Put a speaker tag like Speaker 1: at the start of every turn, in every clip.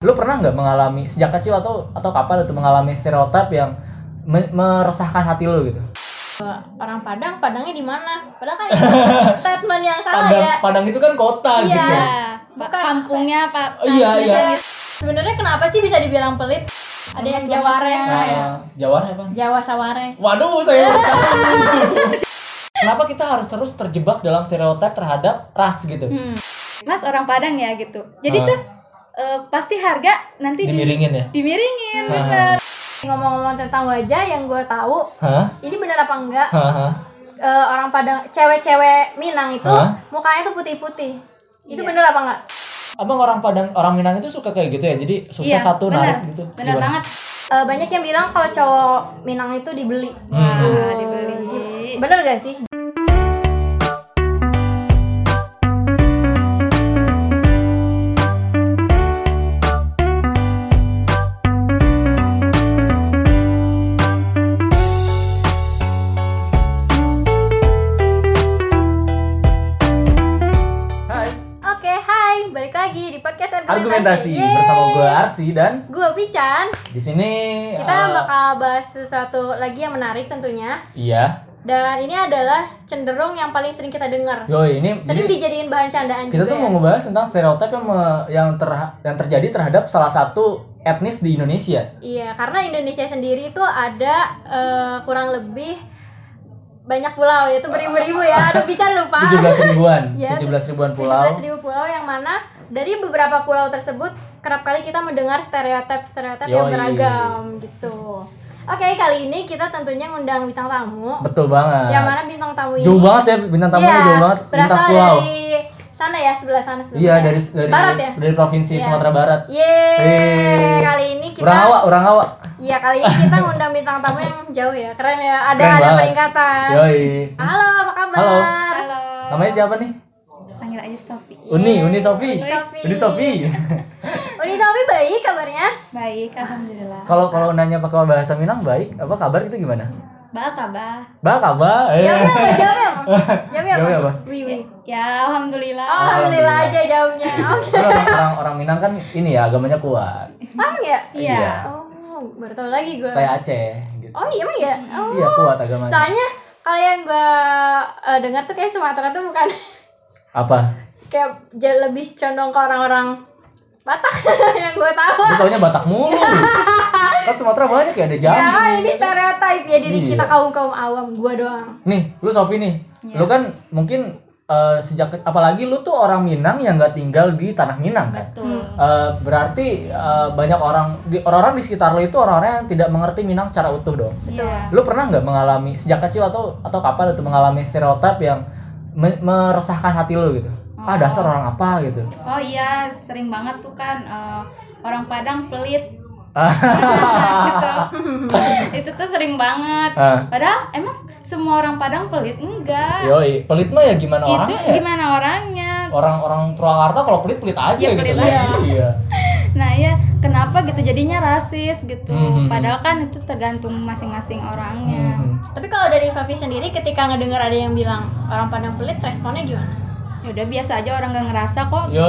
Speaker 1: Lu pernah nggak mengalami sejak kecil atau atau kapan itu mengalami stereotip yang me- meresahkan hati lu gitu?
Speaker 2: orang Padang, Padangnya di mana? Padahal kan itu statement yang
Speaker 3: Ah,
Speaker 2: salah
Speaker 1: Padang,
Speaker 3: iya.
Speaker 2: ya.
Speaker 1: Padang itu kan kota
Speaker 2: Iya,
Speaker 1: gitu.
Speaker 2: bukan
Speaker 3: kampungnya Pak.
Speaker 1: Oh, iya, iya.
Speaker 2: ya. Sebenarnya kenapa sih bisa dibilang pelit? Ada yang Jaware,
Speaker 1: Nah,
Speaker 2: ya.
Speaker 1: Jawa apa?
Speaker 2: Jawa Saware.
Speaker 1: Waduh, saya baru tahu. Kenapa kita harus terus terjebak dalam stereotip terhadap ras gitu?
Speaker 3: Hmm. Mas orang Padang ya gitu. Jadi
Speaker 1: Ah.
Speaker 3: tuh eh, pasti harga nanti di-
Speaker 1: Dimiringin ya?
Speaker 3: dimiringin
Speaker 1: Ah.
Speaker 3: bener.
Speaker 2: Ngomong-ngomong tentang wajah yang gue tahu,
Speaker 1: Hah?
Speaker 2: ini benar apa enggak?
Speaker 1: Hah? Hah?
Speaker 2: Eh, orang Padang, cewek-cewek Minang itu
Speaker 1: Hah?
Speaker 2: mukanya tuh putih-putih. Itu
Speaker 3: Iya.
Speaker 2: bener apa enggak?
Speaker 1: Abang orang Padang, orang Minang itu suka kayak gitu ya? Jadi susah
Speaker 3: Iya,
Speaker 1: satu
Speaker 3: bener.
Speaker 1: narik gitu?
Speaker 3: Bener
Speaker 1: Gimana?
Speaker 3: banget.
Speaker 2: Eh, banyak yang bilang kalau cowok Minang itu dibeli.
Speaker 3: Wah,
Speaker 2: Hmm.
Speaker 3: Ah, Nah, dibeli.
Speaker 2: Bener gak sih?
Speaker 1: Hai,
Speaker 2: Oke, hai, balik lagi di podcast
Speaker 1: argumentasi bersama gue Arsi dan
Speaker 2: Gue Pican.
Speaker 1: di sini
Speaker 2: Kita
Speaker 1: eh,
Speaker 2: bakal bahas sesuatu lagi yang menarik tentunya.
Speaker 1: Iya.
Speaker 2: Dan ini adalah cenderung yang paling sering kita dengar.
Speaker 1: Yo ini
Speaker 2: Sering
Speaker 1: jadi-
Speaker 2: dijadiin bahan candaan
Speaker 1: Iya. kita
Speaker 2: juga. ya.
Speaker 1: tuh mau ngebahas tentang stereotip yang me- yang terha- yang terjadi terhadap salah satu etnis di Indonesia.
Speaker 2: Iya, karena Indonesia sendiri itu ada eh, kurang lebih banyak pulau yaitu beribu-ribu ya. Aduh, Pican lupa.
Speaker 1: 17 ribuan,
Speaker 2: Iya,
Speaker 1: 17 ribuan pulau.
Speaker 2: 17.000 pulau yang mana dari beberapa pulau tersebut kerap kali kita mendengar stereotip-stereotip yang
Speaker 1: Yoi.
Speaker 2: beragam gitu. Oke, kali ini kita tentunya ngundang bintang tamu.
Speaker 1: Betul banget.
Speaker 2: Yang mana bintang tamu ini?
Speaker 1: Nah. Jauh banget ya bintang tamunya
Speaker 2: Iya,
Speaker 1: jauh banget lintas
Speaker 2: Berasal
Speaker 1: pulau.
Speaker 2: dari sana ya, sebelah sana sebelah
Speaker 1: Iya,
Speaker 2: sana.
Speaker 1: dari dari
Speaker 2: Barat ya?
Speaker 1: dari provinsi
Speaker 2: Iya.
Speaker 1: Sumatera Barat.
Speaker 2: Yeay,
Speaker 1: Yeay.
Speaker 2: kali ini kita
Speaker 1: Orang awak, orang awak.
Speaker 2: Iya, kali ini kita ngundang bintang tamu yang jauh ya. Keren ya, ada
Speaker 1: Keren
Speaker 2: ada
Speaker 1: banget.
Speaker 2: peningkatan.
Speaker 1: Yoi.
Speaker 2: Halo, apa kabar?
Speaker 1: Halo.
Speaker 3: Halo.
Speaker 1: Namanya siapa nih?
Speaker 3: Panggil aja Sofi.
Speaker 1: Uni, Uni Sofi.
Speaker 2: Uni Sofi.
Speaker 1: Uni Sofi.
Speaker 2: Uni Sofi baik kabarnya?
Speaker 3: Baik, alhamdulillah.
Speaker 1: Kalau kalau nanya pakai bahasa Minang baik, apa kabar itu gimana?
Speaker 3: Ba kabar.
Speaker 1: Ba kabar. Eh.
Speaker 2: Jawabnya apa? Jawabnya apa? Jawabnya apa?
Speaker 1: Jawabnya ya, apa?
Speaker 2: Wi, wi.
Speaker 3: Ya, alhamdulillah.
Speaker 2: Oh, alhamdulillah aja jawabnya. Oke.
Speaker 1: Karena orang, orang orang Minang kan ini ya agamanya kuat.
Speaker 2: Paham ya?
Speaker 1: Hmm,
Speaker 3: Iya.
Speaker 2: Oh, baru tahu lagi gue.
Speaker 1: Kayak Aceh gitu.
Speaker 2: Oh, iya emang ya? Oh.
Speaker 1: Iya kuat agamanya.
Speaker 2: Soalnya kalau yang gue dengar tuh kayak Sumatera tuh bukan
Speaker 1: Apa?
Speaker 2: kayak jauh lebih condong ke orang-orang Batak yang gue tahu.
Speaker 1: Lu taunya Batak mulu. kan Sumatera banyak ya ada Jambi.
Speaker 2: Ya, ini stereotip ya diri
Speaker 1: Iya.
Speaker 2: kita kaum-kaum awam, gue doang.
Speaker 1: Nih, lu Sofi nih. Lu kan mungkin eh, sejak ke- apalagi lu tuh orang Minang yang nggak tinggal di tanah Minang kan.
Speaker 3: Betul.
Speaker 1: Eh, berarti eh, banyak orang di orang-orang di sekitar lu itu orang-orang yang tidak mengerti Minang secara utuh dong.
Speaker 3: Iya.
Speaker 1: Lu pernah nggak mengalami sejak kecil atau atau kapan itu mengalami stereotip yang me- meresahkan hati lu gitu? Ah dasar orang apa gitu.
Speaker 3: Oh iya, sering banget tuh kan eh, orang Padang pelit. Gitu. Itu tuh sering banget.
Speaker 1: Ah,
Speaker 3: Padahal emang semua orang Padang pelit enggak?
Speaker 1: yoi, pelit mah ya gimana
Speaker 3: itu
Speaker 1: orangnya ya?
Speaker 3: gimana orangnya?
Speaker 1: Orang-orang Purwakarta kalau pelit-pelit aja
Speaker 3: Ya,
Speaker 1: gitu
Speaker 3: pelit
Speaker 1: kan.
Speaker 3: aja.
Speaker 1: Iya.
Speaker 3: Nah ya kenapa gitu jadinya rasis gitu?
Speaker 1: Mhm.
Speaker 3: Padahal kan itu tergantung masing-masing orangnya.
Speaker 1: Mhm.
Speaker 2: Tapi kalau dari Sofi sendiri ketika ngedenger ada yang bilang orang Padang pelit, responnya gimana?
Speaker 3: Ya udah biasa aja orang gak ngerasa kok.
Speaker 1: Ya.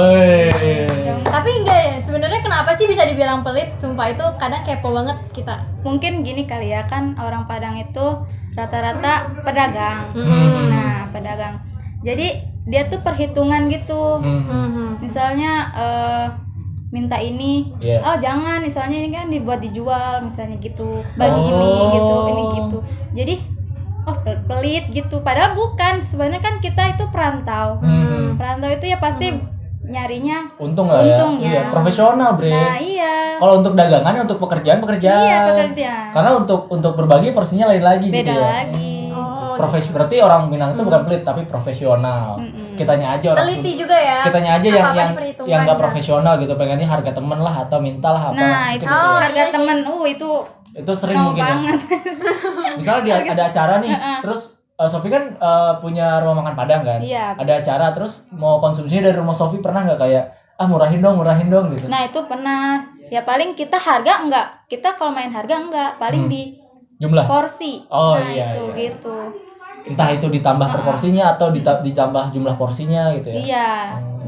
Speaker 1: Yoi.
Speaker 2: Tapi enggak ya, sebenarnya kenapa sih bisa dibilang pelit? Sumpah itu kadang kepo banget kita.
Speaker 3: Mungkin gini kali ya kan orang Padang itu rata-rata pedagang.
Speaker 1: Hmm.
Speaker 3: Nah pedagang. Jadi dia tuh perhitungan gitu.
Speaker 1: Mhm.
Speaker 2: Mhm.
Speaker 3: Misalnya eh, minta ini,
Speaker 1: Iya.
Speaker 3: oh jangan, misalnya ini kan dibuat dijual, misalnya gitu, bagi ini gitu, ini
Speaker 1: Oh.
Speaker 3: gitu. Jadi oh pel- pelit gitu. Padahal bukan. Sebenarnya kan kita itu perantau.
Speaker 1: Mhm.
Speaker 3: Perantau itu ya pasti
Speaker 1: Hmm.
Speaker 3: nyarinya.
Speaker 1: Untung lah ya.
Speaker 3: Untung ya.
Speaker 1: Iya, profesional, Bre.
Speaker 3: Nah, iya.
Speaker 1: Kalau untuk dagangan untuk pekerjaan pekerjaan.
Speaker 3: Iya, pekerjaan.
Speaker 1: Karena untuk untuk berbagi porsinya lain lagi
Speaker 3: Beda
Speaker 1: gitu ya.
Speaker 3: lagi. Hmm.
Speaker 2: Oh,
Speaker 1: Profes berarti orang Minang itu bukan pelit tapi profesional. Kitanya aja orang
Speaker 2: teliti juga ya.
Speaker 1: kitanya aja yang
Speaker 2: Apa-apa
Speaker 1: yang
Speaker 2: diperhitungkan,
Speaker 1: yang nggak
Speaker 2: kan?
Speaker 1: profesional gitu pengennya harga temen lah atau mintalah apa
Speaker 3: Nah,
Speaker 1: gitu
Speaker 3: itu
Speaker 1: ya.
Speaker 2: Oh,
Speaker 3: harga
Speaker 2: iya sih.
Speaker 3: temen. Uh, itu
Speaker 1: itu sering
Speaker 3: kau
Speaker 1: mungkin ya.
Speaker 3: banget.
Speaker 1: misalnya dia ada acara nih terus eh, Sofi kan eh, punya rumah makan Padang kan
Speaker 3: Iya.
Speaker 1: ada acara terus mau konsumsinya dari rumah Sofi pernah nggak kayak ah murahin dong murahin dong gitu
Speaker 3: Nah, itu pernah ya paling kita harga enggak.
Speaker 1: Hmm.
Speaker 3: Kita kalau main harga enggak, paling di
Speaker 1: jumlah
Speaker 3: porsi.
Speaker 1: Oh,
Speaker 3: nah,
Speaker 1: iya,
Speaker 3: itu
Speaker 1: iya.
Speaker 3: gitu.
Speaker 1: entah itu ditambah proporsinya atau dita- ditambah jumlah porsinya gitu ya
Speaker 3: iya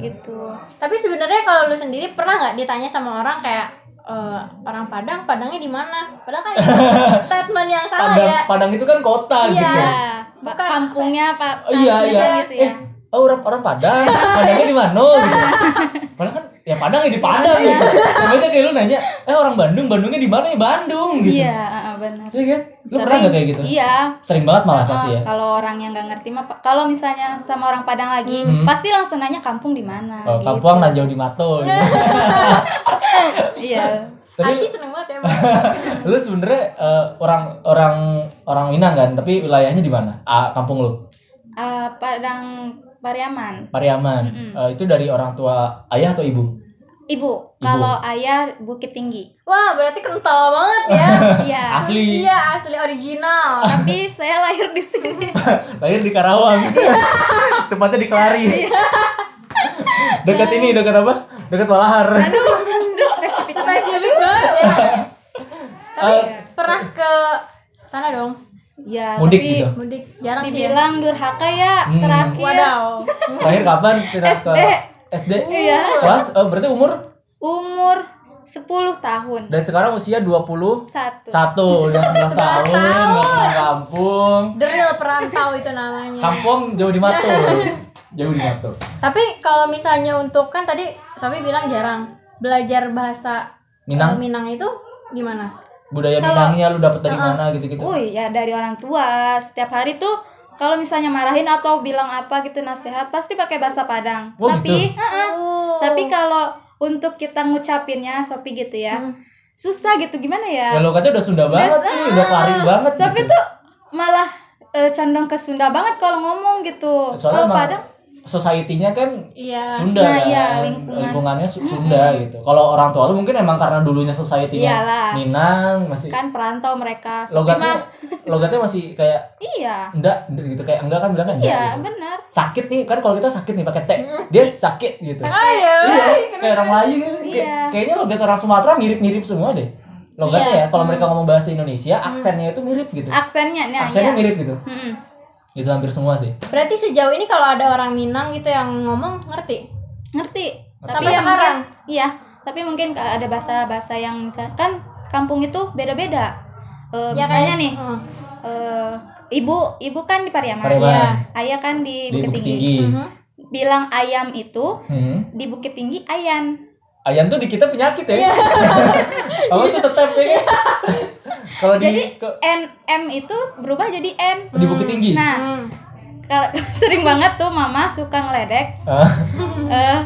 Speaker 3: gitu
Speaker 2: Tapi sebenarnya kalau lu sendiri pernah nggak ditanya sama orang kayak eh, orang Padang, Padangnya di mana? Padahal kan itu statement yang salah
Speaker 3: Oh,
Speaker 1: Padang
Speaker 2: ya.
Speaker 3: iya.
Speaker 1: Padang itu kan kota
Speaker 2: Iya.
Speaker 1: gitu
Speaker 3: ya ba-
Speaker 2: Bukan-
Speaker 3: kampungnya pak
Speaker 1: Oh, iya,
Speaker 3: kampungnya
Speaker 1: iya.
Speaker 3: gitu ya
Speaker 1: oh orang orang Padang Padangnya di mana gitu Padahal kan ya Padang ya di Padang
Speaker 3: Iya.
Speaker 1: gitu sama aja kayak lu nanya eh orang Bandung Bandungnya di mana ya Bandung gitu
Speaker 3: iya heeh, benar
Speaker 1: Iya kan lu pernah nggak kayak gitu
Speaker 3: iya
Speaker 1: sering banget malah pasti
Speaker 3: Heeh,
Speaker 1: ya
Speaker 3: kalau orang yang nggak ngerti mah Pak, kalau misalnya sama orang Padang lagi
Speaker 1: Hmm.
Speaker 3: pasti langsung nanya kampung di mana
Speaker 1: oh,
Speaker 3: gitu.
Speaker 1: Kapuang nggak jauh di Mato gitu.
Speaker 3: iya
Speaker 1: tapi
Speaker 2: Arsy seneng banget ya. Mas.
Speaker 1: lu sebenernya eh, orang orang orang Minang kan tapi wilayahnya di mana ah, kampung lu
Speaker 3: Eh, Padang Pariaman
Speaker 1: Pariaman
Speaker 3: Mm-mm.
Speaker 1: Eh, itu dari orang tua ayah atau ibu
Speaker 3: ibu
Speaker 1: Ibu.
Speaker 3: kalau ayah Bukit Tinggi
Speaker 2: Wah, berarti kental banget ya.
Speaker 3: iya
Speaker 1: asli
Speaker 2: Iya, asli original.
Speaker 3: tapi saya lahir di sini
Speaker 1: lahir di Karawang tempatnya di Kelari dekat ini dekat apa dekat Walahar
Speaker 2: Spesifik banget ya. Tapi
Speaker 1: Eh,
Speaker 2: pernah ke sana dong,
Speaker 3: ya
Speaker 1: Mudik
Speaker 3: tapi
Speaker 1: gitu.
Speaker 2: mudik jarang sih. Ya.
Speaker 3: dibilang durhaka ya
Speaker 1: Hmm.
Speaker 3: terakhir
Speaker 2: Wadaw.
Speaker 1: lahir kapan Kira
Speaker 3: SD.
Speaker 1: SD
Speaker 3: Iya.
Speaker 1: kelas eh, berarti umur
Speaker 3: umur 10 tahun
Speaker 1: dan sekarang usia 21
Speaker 3: satu
Speaker 1: udah 11 tahun orang kampung
Speaker 2: The real perantau itu namanya.
Speaker 1: kampung jauh di Mato jauh di Mato
Speaker 2: Tapi kalau misalnya untuk kan tadi Sofi bilang jarang belajar bahasa
Speaker 1: Minang
Speaker 2: eh, Minang itu gimana?
Speaker 1: budaya Minangnya lu dapet dari mana gitu-gitu
Speaker 3: Wih, ya dari orang tua setiap hari tuh kalau misalnya marahin atau bilang apa gitu nasihat pasti pakai bahasa Padang
Speaker 1: Oh,
Speaker 3: tapi heeh.
Speaker 2: Oh.
Speaker 3: tapi kalau untuk kita ngucapinnya Sopi gitu ya
Speaker 2: Hmm.
Speaker 3: susah gitu gimana ya
Speaker 1: ya lo katanya udah Sunda banget sih udah Kelari banget
Speaker 3: Sopi
Speaker 1: gitu.
Speaker 3: tuh malah eh, condong ke Sunda banget kalau ngomong gitu
Speaker 1: soalnya
Speaker 3: kalau
Speaker 1: emang
Speaker 3: Padang
Speaker 1: society-nya kan
Speaker 2: iya.
Speaker 1: Sunda
Speaker 3: Nah,
Speaker 1: kan?
Speaker 3: iya, lingkungan.
Speaker 1: lingkungannya Su- Sunda gitu. Kalau orang tua lu mungkin emang karena dulunya society-nya
Speaker 3: Iyalah.
Speaker 1: Minang masih
Speaker 3: kan perantau mereka Sopi mah
Speaker 1: logatnya ya? logatnya masih kayak
Speaker 3: iya
Speaker 1: enggak enggak gitu kayak enggak kan bilang kan enggak
Speaker 3: iya
Speaker 1: gitu.
Speaker 3: benar
Speaker 1: Sakit nih kan kalau kita sakit nih pakai T. Dia sakit gitu.
Speaker 2: Ayo.
Speaker 1: Iya, kayak orang Melayu gitu. Kayak-
Speaker 3: Iya.
Speaker 1: kayaknya logat orang Sumatera mirip-mirip semua deh. Logatnya ya kalau mereka ngomong bahasa Indonesia, aksennya itu mirip gitu.
Speaker 3: aksennya nah
Speaker 1: aksennya
Speaker 3: Hmm. iya.
Speaker 1: mirip gitu.
Speaker 3: Mm-mm.
Speaker 1: Itu hampir semua sih.
Speaker 2: Berarti sejauh ini kalau ada orang Minang gitu yang ngomong ngerti?
Speaker 3: ngerti tapi
Speaker 2: Sampai
Speaker 3: ya
Speaker 2: sekarang?
Speaker 3: mungkin iya tapi mungkin ka- ada bahasa bahasa yang misalkan kan kampung itu beda beda
Speaker 2: Ya, kayak-
Speaker 3: misalnya nih
Speaker 2: Heeh.
Speaker 3: eh, ibu ibu kan di Pariaman
Speaker 1: Pariaman.
Speaker 3: Iya. ayah kan di,
Speaker 1: Di
Speaker 3: Bukit,
Speaker 1: Bukit
Speaker 3: Tinggi.
Speaker 1: Tinggi.
Speaker 2: Mhm.
Speaker 3: bilang ayam itu
Speaker 1: Hmm.
Speaker 3: di Bukit Tinggi ayan
Speaker 1: Ayam tuh di kita penyakit ya.
Speaker 3: Iya.
Speaker 1: Kamu tuh tetap ya. kan? Kalau di
Speaker 3: Jadi-
Speaker 1: ke-
Speaker 3: n m itu berubah jadi n
Speaker 1: di Bukit Tinggi.
Speaker 3: nah
Speaker 2: Hmm.
Speaker 3: kalau sering banget tuh mama suka ngeledek
Speaker 1: Ah,
Speaker 2: Hmm.
Speaker 3: eh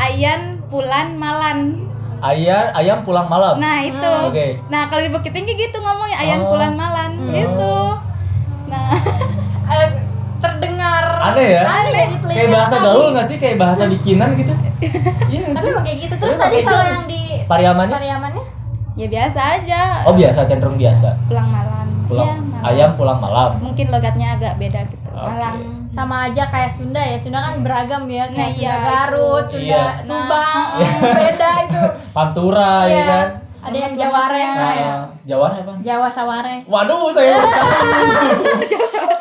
Speaker 3: ayan pulan malan
Speaker 1: ayam ayam pulang malam.
Speaker 3: nah itu
Speaker 1: Oh.
Speaker 2: Hmm.
Speaker 1: Oke.
Speaker 3: nah kalau di Bukit Tinggi gitu ngomongnya ayan
Speaker 1: Oh.
Speaker 3: pulan malan gitu nah
Speaker 2: Eh, terdengar
Speaker 1: Aneh ya?
Speaker 2: aneh di telinga
Speaker 1: Kayak bahasa
Speaker 2: kami.
Speaker 1: gaul nggak sih? Kayak bahasa bikinan gitu. Iya nggak
Speaker 2: Tapi
Speaker 1: sih.
Speaker 2: emang kayak gitu. Terus
Speaker 1: Tapi
Speaker 2: tadi
Speaker 1: pakai
Speaker 2: kalau
Speaker 1: jam.
Speaker 2: yang di
Speaker 1: Pariamannya?
Speaker 2: Pariamannya?
Speaker 3: ya biasa aja
Speaker 1: Oh biasa, cenderung biasa.
Speaker 3: pulang malam
Speaker 1: Pulang
Speaker 3: Iya, malam.
Speaker 1: ayam pulang malam.
Speaker 3: mungkin logatnya agak beda gitu
Speaker 1: Oke.
Speaker 3: malam
Speaker 2: sama aja kayak Sunda ya Sunda kan beragam ya kayak
Speaker 3: Nah,
Speaker 2: Sunda
Speaker 3: iya,
Speaker 2: Garut
Speaker 1: itu.
Speaker 2: Sunda
Speaker 1: Iya.
Speaker 2: Subang beda itu
Speaker 1: Pantura ya
Speaker 2: Iya.
Speaker 1: kan.
Speaker 2: ada yang Jaware
Speaker 1: Nah,
Speaker 2: ya.
Speaker 1: Jawa apa?
Speaker 2: Jawa Saware
Speaker 1: Waduh, saya baru tahu.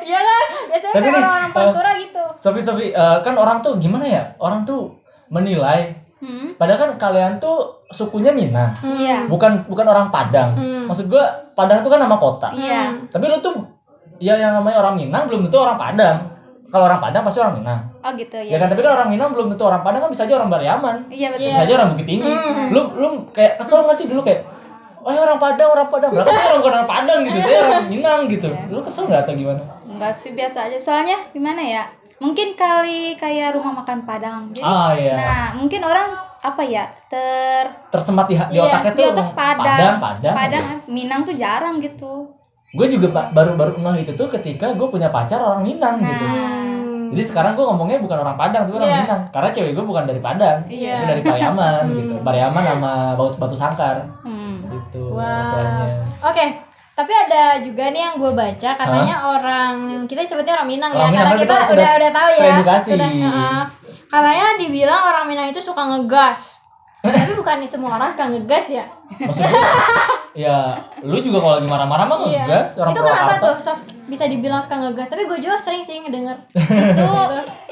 Speaker 2: iya kan biasanya
Speaker 1: Tapi
Speaker 2: kan
Speaker 1: nih,
Speaker 2: orang-orang
Speaker 1: eh,
Speaker 2: Pantura gitu
Speaker 1: Sofi, Sofi, eh, kan orang tuh gimana ya? Orang tuh menilai.
Speaker 3: Hmm.
Speaker 1: Padahal kan kalian tuh sukunya Minang.
Speaker 3: iya
Speaker 1: bukan bukan orang Padang.
Speaker 2: Hmm.
Speaker 1: Maksud gua Padang itu kan nama kota.
Speaker 3: iya
Speaker 1: Tapi lu tuh ya yang namanya orang Minang belum tentu orang Padang. Kalau orang Padang pasti orang Minang.
Speaker 3: oh gitu
Speaker 1: Ya
Speaker 3: ya
Speaker 2: Iya.
Speaker 1: kan tapi kan orang Minang belum tentu orang Padang kan bisa aja orang Bariaman.
Speaker 3: iya Mm. betul
Speaker 1: Bisa aja orang Bukit Tinggi. Lu lu kayak kesel gak sih dulu kayak Oh ya orang Padang, orang Padang. Berarti saya orang bukan orang Padang gitu, saya orang Minang gitu.
Speaker 3: Iya.
Speaker 1: Lu kesel gak atau gimana?
Speaker 3: enggak sih biasa aja soalnya gimana ya mungkin kali kayak rumah makan Padang jadi
Speaker 1: ah iya.
Speaker 3: nah mungkin orang apa ya ter
Speaker 1: Tersemat di, di
Speaker 2: Iya,
Speaker 1: otaknya
Speaker 3: di
Speaker 1: tuh
Speaker 3: otak
Speaker 1: emang
Speaker 3: Padang
Speaker 1: Padang.
Speaker 3: Padang, Minang tuh jarang gitu
Speaker 1: Gue juga pa- baru-baru ngeh itu tuh ketika gue punya pacar orang Minang
Speaker 3: Nah.
Speaker 1: gitu. Jadi sekarang gue ngomongnya bukan orang Padang tapi orang
Speaker 2: Iya.
Speaker 1: Minang karena cewek gue bukan dari Padang,
Speaker 3: Iya.
Speaker 1: tapi dari Pariaman gitu. Pariaman sama Batu, Batu Sangkar
Speaker 3: hmm.
Speaker 1: gitu.
Speaker 2: wow
Speaker 1: katanya.
Speaker 2: oke tapi ada juga nih yang gue baca katanya orang kita sebutnya orang Minang
Speaker 1: Orang
Speaker 2: ya
Speaker 1: Minang
Speaker 2: karena
Speaker 1: kan
Speaker 2: kita,
Speaker 1: kita
Speaker 2: udah
Speaker 1: sudah
Speaker 2: udah, tahu ya
Speaker 1: teredukasi.
Speaker 2: sudah heeh. katanya dibilang orang Minang itu suka ngegas tapi bukannya semua orang suka ngegas ya
Speaker 1: Maksudnya ya lu juga kalau lagi marah-marah mah
Speaker 2: Iya.
Speaker 1: ngegas orang
Speaker 2: itu kenapa
Speaker 1: Purwakarta.
Speaker 2: tuh Sof bisa dibilang suka ngegas tapi gue juga sering sih ngedenger
Speaker 3: itu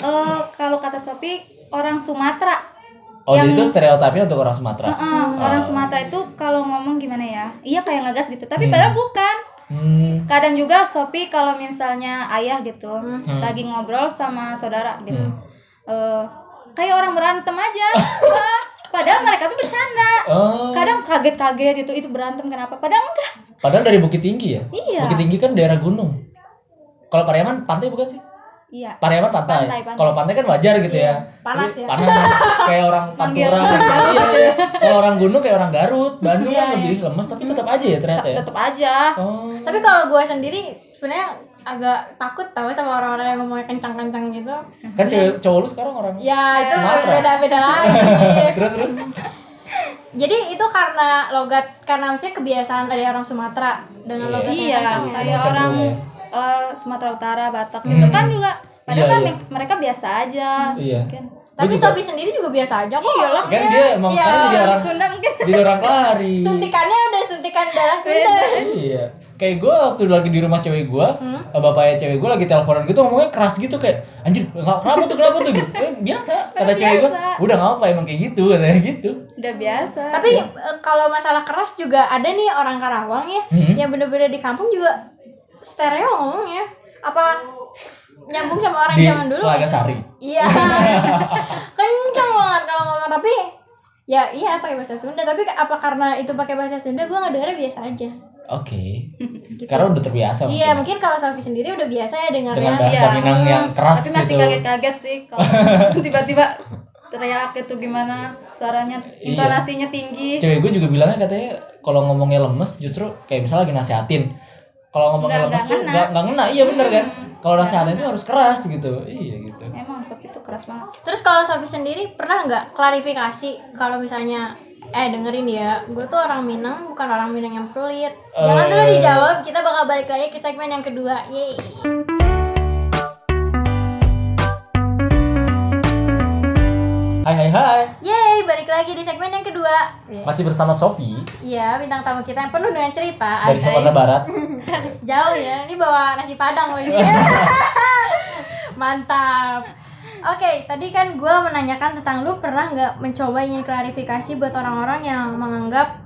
Speaker 3: eh, kalau kata Sophie orang Sumatera
Speaker 1: oh jadi
Speaker 3: yang-
Speaker 1: itu stereotipnya untuk orang Sumatera
Speaker 3: Eh, eh, orang Sumatera itu kalau ngomong gimana ya iya kayak ngegas gitu tapi
Speaker 1: Hmm.
Speaker 3: padahal bukan
Speaker 1: hmm.
Speaker 3: kadang juga Sophie kalau misalnya ayah gitu
Speaker 2: Hmm.
Speaker 3: lagi ngobrol sama saudara gitu
Speaker 1: Hmm.
Speaker 3: eh, kayak orang berantem aja Wah, padahal mereka tuh bercanda
Speaker 1: Oh,
Speaker 3: kadang kaget-kaget gitu itu berantem kenapa padahal enggak
Speaker 1: padahal dari Bukit Tinggi ya
Speaker 3: Iya.
Speaker 1: Bukit Tinggi kan daerah gunung kalau Pariaman pantai bukan sih
Speaker 3: iya
Speaker 1: Pariaman pantai,
Speaker 3: Pantai, pantai.
Speaker 1: kalau pantai kan wajar gitu
Speaker 2: Iya.
Speaker 1: ya
Speaker 2: Panas
Speaker 1: Jadi
Speaker 2: ya.
Speaker 1: panas kayak orang
Speaker 3: Manggil.
Speaker 1: Pantura kayak- iya, iya. kalau orang gunung kayak orang Garut Bandung
Speaker 2: gitu Iya,
Speaker 1: kan
Speaker 2: iya.
Speaker 1: lebih lemes tapi tetap aja ya ternyata ya
Speaker 3: tetap aja
Speaker 1: oh
Speaker 2: tapi kalau gue sendiri sebenarnya agak takut tau sama orang-orang yang ngomongnya kencang-kencang gitu
Speaker 1: kan cewek cowok lu sekarang orang
Speaker 2: ya itu
Speaker 1: Sumatera.
Speaker 2: beda-beda lagi
Speaker 1: terus terus
Speaker 2: Jadi itu karena logat karena maksudnya kebiasaan dari orang Sumatera dengan
Speaker 1: Iya.
Speaker 2: logat
Speaker 3: iya
Speaker 2: yang kencang.
Speaker 3: kayak
Speaker 1: Macam
Speaker 3: orang
Speaker 1: dulu
Speaker 3: eh, Sumatera Utara Batak gitu kan juga padahal
Speaker 1: Iya,
Speaker 3: kan
Speaker 1: iya.
Speaker 3: me- mereka biasa aja
Speaker 1: iya
Speaker 3: mungkin
Speaker 2: Tapi
Speaker 1: Gua juga-
Speaker 2: Sophie sendiri juga biasa aja kok. orangnya.
Speaker 1: kan dia emang
Speaker 2: Iya.
Speaker 1: sekarang jadi orang
Speaker 3: Sunda mungkin
Speaker 1: jadi orang pelari
Speaker 2: Suntikannya udah suntikan darah Sunda.
Speaker 1: iya kayak gue waktu lagi di rumah cewek gue
Speaker 3: Hmm?
Speaker 1: bapaknya cewek gue lagi teleponan gitu ngomongnya keras gitu kayak anjir kenapa tuh kenapa tuh gitu "Eh, biasa kata cewek gue
Speaker 3: biasa.
Speaker 1: udah nggak apa emang kayak gitu katanya gitu
Speaker 3: udah biasa
Speaker 2: Tapi
Speaker 1: Iya.
Speaker 2: eh, kalau masalah keras juga ada nih orang Karawang ya,
Speaker 1: Hmm.
Speaker 2: yang bener-bener di kampung juga stereo ngomongnya. Apa nyambung sama orang
Speaker 1: Di
Speaker 2: zaman dulu?
Speaker 1: Telaga Sari.
Speaker 3: gitu.
Speaker 2: Iya. Kenceng banget kalau ngomong tapi ya iya pakai bahasa Sunda tapi apa karena itu pakai bahasa Sunda gue ngedengarnya biasa aja
Speaker 1: oke
Speaker 3: Gitu.
Speaker 1: karena udah terbiasa
Speaker 2: iya mungkin kalau Sofi sendiri udah biasa ya
Speaker 1: Oh, dengan
Speaker 2: dengarnya
Speaker 1: bahasa
Speaker 3: Iya.
Speaker 1: Minang yang keras
Speaker 3: tapi masih
Speaker 1: gitu
Speaker 3: kaget-kaget sih kalau tiba-tiba teriak itu gimana suaranya
Speaker 1: Iya.
Speaker 3: intonasinya tinggi
Speaker 1: cewek gue juga bilangnya katanya kalau ngomongnya lemes justru kayak misalnya lagi nasihatin kalau ngomongnya
Speaker 3: Nggak-
Speaker 1: lemes
Speaker 3: nggak
Speaker 1: tuh
Speaker 3: ngena. Hmm.
Speaker 1: nggak nggak ngena iya bener kan kalau nasihatin tuh harus keras gitu iya gitu
Speaker 3: emang Sophie itu keras banget
Speaker 2: terus kalau Sofi sendiri pernah nggak klarifikasi kalau misalnya eh dengerin ya gue tuh orang Minang bukan orang Minang yang pelit jangan dulu
Speaker 1: Eh.
Speaker 2: dijawab kita bakal balik lagi ke segmen yang kedua yeay
Speaker 1: hai hai hai
Speaker 2: yeay balik lagi di segmen yang kedua
Speaker 1: masih bersama Sofi
Speaker 2: Iya, bintang tamu kita yang penuh dengan cerita.
Speaker 1: dari
Speaker 2: guys.
Speaker 1: Sumatera Barat
Speaker 2: Jauh ya, ini bawa nasi padang loh ini. Mantap. Oke, tadi kan gue menanyakan tentang lu pernah nggak mencoba ingin klarifikasi buat orang-orang yang menganggap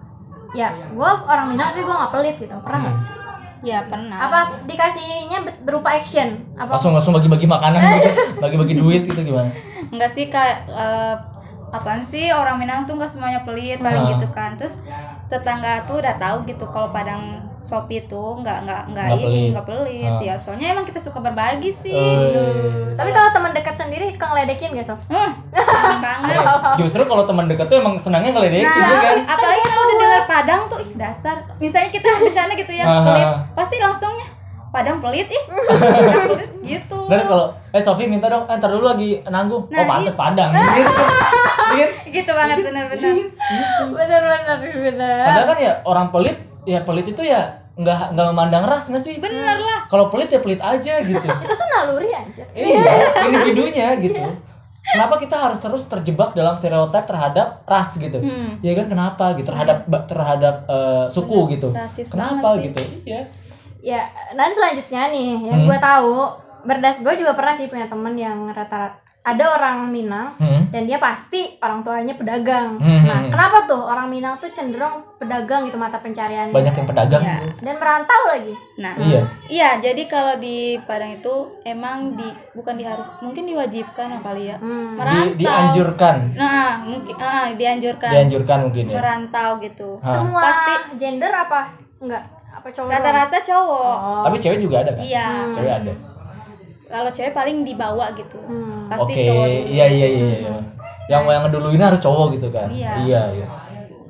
Speaker 2: ya gue orang Minang tapi gue nggak pelit gitu pernah nggak?
Speaker 3: ya pernah
Speaker 2: Apa dikasihnya be- berupa action? Apa?
Speaker 1: langsung langsung bagi-bagi makanan gitu, bagi-bagi duit gitu gimana
Speaker 3: enggak sih kayak eh, apaan sih orang Minang tuh enggak semuanya pelit paling
Speaker 1: Ah.
Speaker 3: gitu kan terus tetangga tuh udah tahu gitu kalau Padang Sopi tuh nggak nggak nggak
Speaker 1: Nggak pelit.
Speaker 3: ini nggak pelit
Speaker 1: Ah.
Speaker 3: ya soalnya emang kita suka berbagi sih
Speaker 1: Eh,
Speaker 2: Tapi kalau teman dekat sendiri suka ngeledekin gak sob?
Speaker 3: hmm, seneng banget
Speaker 1: justru kalau teman dekat tuh emang senangnya ngeledekin
Speaker 2: Nah,
Speaker 1: gitu kan
Speaker 3: apalagi kalau udah dengar Padang tuh ih dasar misalnya kita bercanda gitu ya
Speaker 1: Ah.
Speaker 3: pelit pasti langsungnya Padang pelit ih Padang pelit gitu
Speaker 1: dan kalau eh Sofi minta dong eh ntar dulu lagi nanggung
Speaker 3: Nah,
Speaker 1: oh pantas padang gitu Gitu.
Speaker 3: gitu banget bener-bener
Speaker 2: bener bener bener.
Speaker 1: padahal kan ya orang pelit ya pelit itu ya nggak nggak memandang ras nggak sih
Speaker 3: bener lah
Speaker 1: kalau pelit ya pelit aja gitu
Speaker 2: Itu tuh naluri aja.
Speaker 1: iya individunya gitu
Speaker 3: Iya.
Speaker 1: kenapa kita harus terus terjebak dalam stereotip terhadap ras gitu
Speaker 3: Hmm.
Speaker 1: ya
Speaker 3: Iya.
Speaker 1: kan kenapa gitu terhadap ba- terhadap eh, suku gitu
Speaker 3: rasis
Speaker 1: kenapa
Speaker 3: banget sih.
Speaker 1: gitu iya
Speaker 2: Ya, nanti selanjutnya nih yang
Speaker 1: Hmm.
Speaker 2: gue tahu berdas gue juga pernah sih punya temen yang rata-rata ada orang Minang
Speaker 1: Hmm.
Speaker 2: dan dia pasti orang tuanya pedagang.
Speaker 1: Hmm.
Speaker 2: Nah, kenapa tuh orang Minang tuh cenderung pedagang gitu mata pencariannya
Speaker 1: banyak yang pedagang
Speaker 3: Iya.
Speaker 1: gitu.
Speaker 2: dan merantau lagi.
Speaker 3: nah
Speaker 1: iya
Speaker 3: Iya, jadi kalau di Padang itu emang di bukan diharus, mungkin diwajibkan apa kali ya.
Speaker 1: Di-
Speaker 2: Hmm.
Speaker 3: Merantau.
Speaker 1: dianjurkan
Speaker 3: Nah, mungkin ah, dianjurkan
Speaker 1: dianjurkan mungkin ya
Speaker 3: merantau gitu.
Speaker 1: Ah.
Speaker 2: Semua
Speaker 3: Pasti.
Speaker 2: gender apa enggak? Apa cowok?
Speaker 3: Rata-rata cowok.
Speaker 2: doang? Oh.
Speaker 1: tapi cewek juga ada kan
Speaker 3: Iya.
Speaker 1: cewek ada
Speaker 3: Kalau cewek paling dibawa gitu.
Speaker 2: Hmm.
Speaker 3: Pasti
Speaker 1: oke
Speaker 3: cowok dulu.
Speaker 1: iya iya iya iya. yang yang ngeduluin harus cowok gitu kan
Speaker 3: Iya.
Speaker 1: iya iya.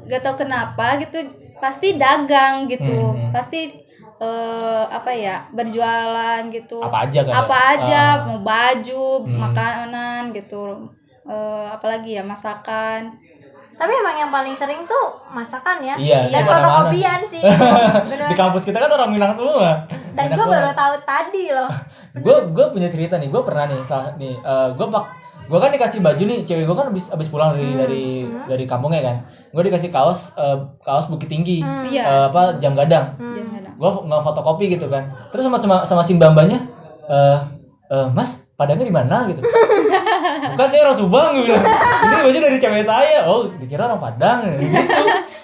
Speaker 3: Gak tau kenapa gitu, pasti dagang gitu.
Speaker 1: Hmm.
Speaker 3: Pasti eh, apa ya? Berjualan gitu.
Speaker 1: apa aja kan
Speaker 3: Apa
Speaker 1: ya?
Speaker 3: aja,
Speaker 1: Ah.
Speaker 3: mau baju,
Speaker 1: Hmm.
Speaker 3: makanan gitu. Eh, apalagi ya masakan.
Speaker 2: Tapi emang yang paling sering tuh masakan ya.
Speaker 1: Iya, di
Speaker 2: Dan
Speaker 1: mana-mana.
Speaker 2: fotokopian sih.
Speaker 1: di
Speaker 2: Bener.
Speaker 1: kampus kita kan orang Minang semua
Speaker 2: Dan gue baru tahu tadi loh.
Speaker 1: gue gue punya cerita nih gue pernah nih salah nih gue eh, pak gue kan dikasih baju nih cewek gue kan abis abis pulang dari
Speaker 2: Hmm,
Speaker 1: dari
Speaker 2: hmm.
Speaker 1: dari kampungnya kan gue dikasih kaos eh, kaos bukit tinggi
Speaker 2: Hmm.
Speaker 3: Iya.
Speaker 1: eh, apa jam gadang
Speaker 3: Jangan
Speaker 2: Hmm.
Speaker 3: ada.
Speaker 1: gue nggak fotokopi gitu kan terus sama sama sama si mbambanya eh eh, mas padangnya di mana gitu bukan saya orang subang gue bilang ini baju dari cewek saya oh dikira orang padang gitu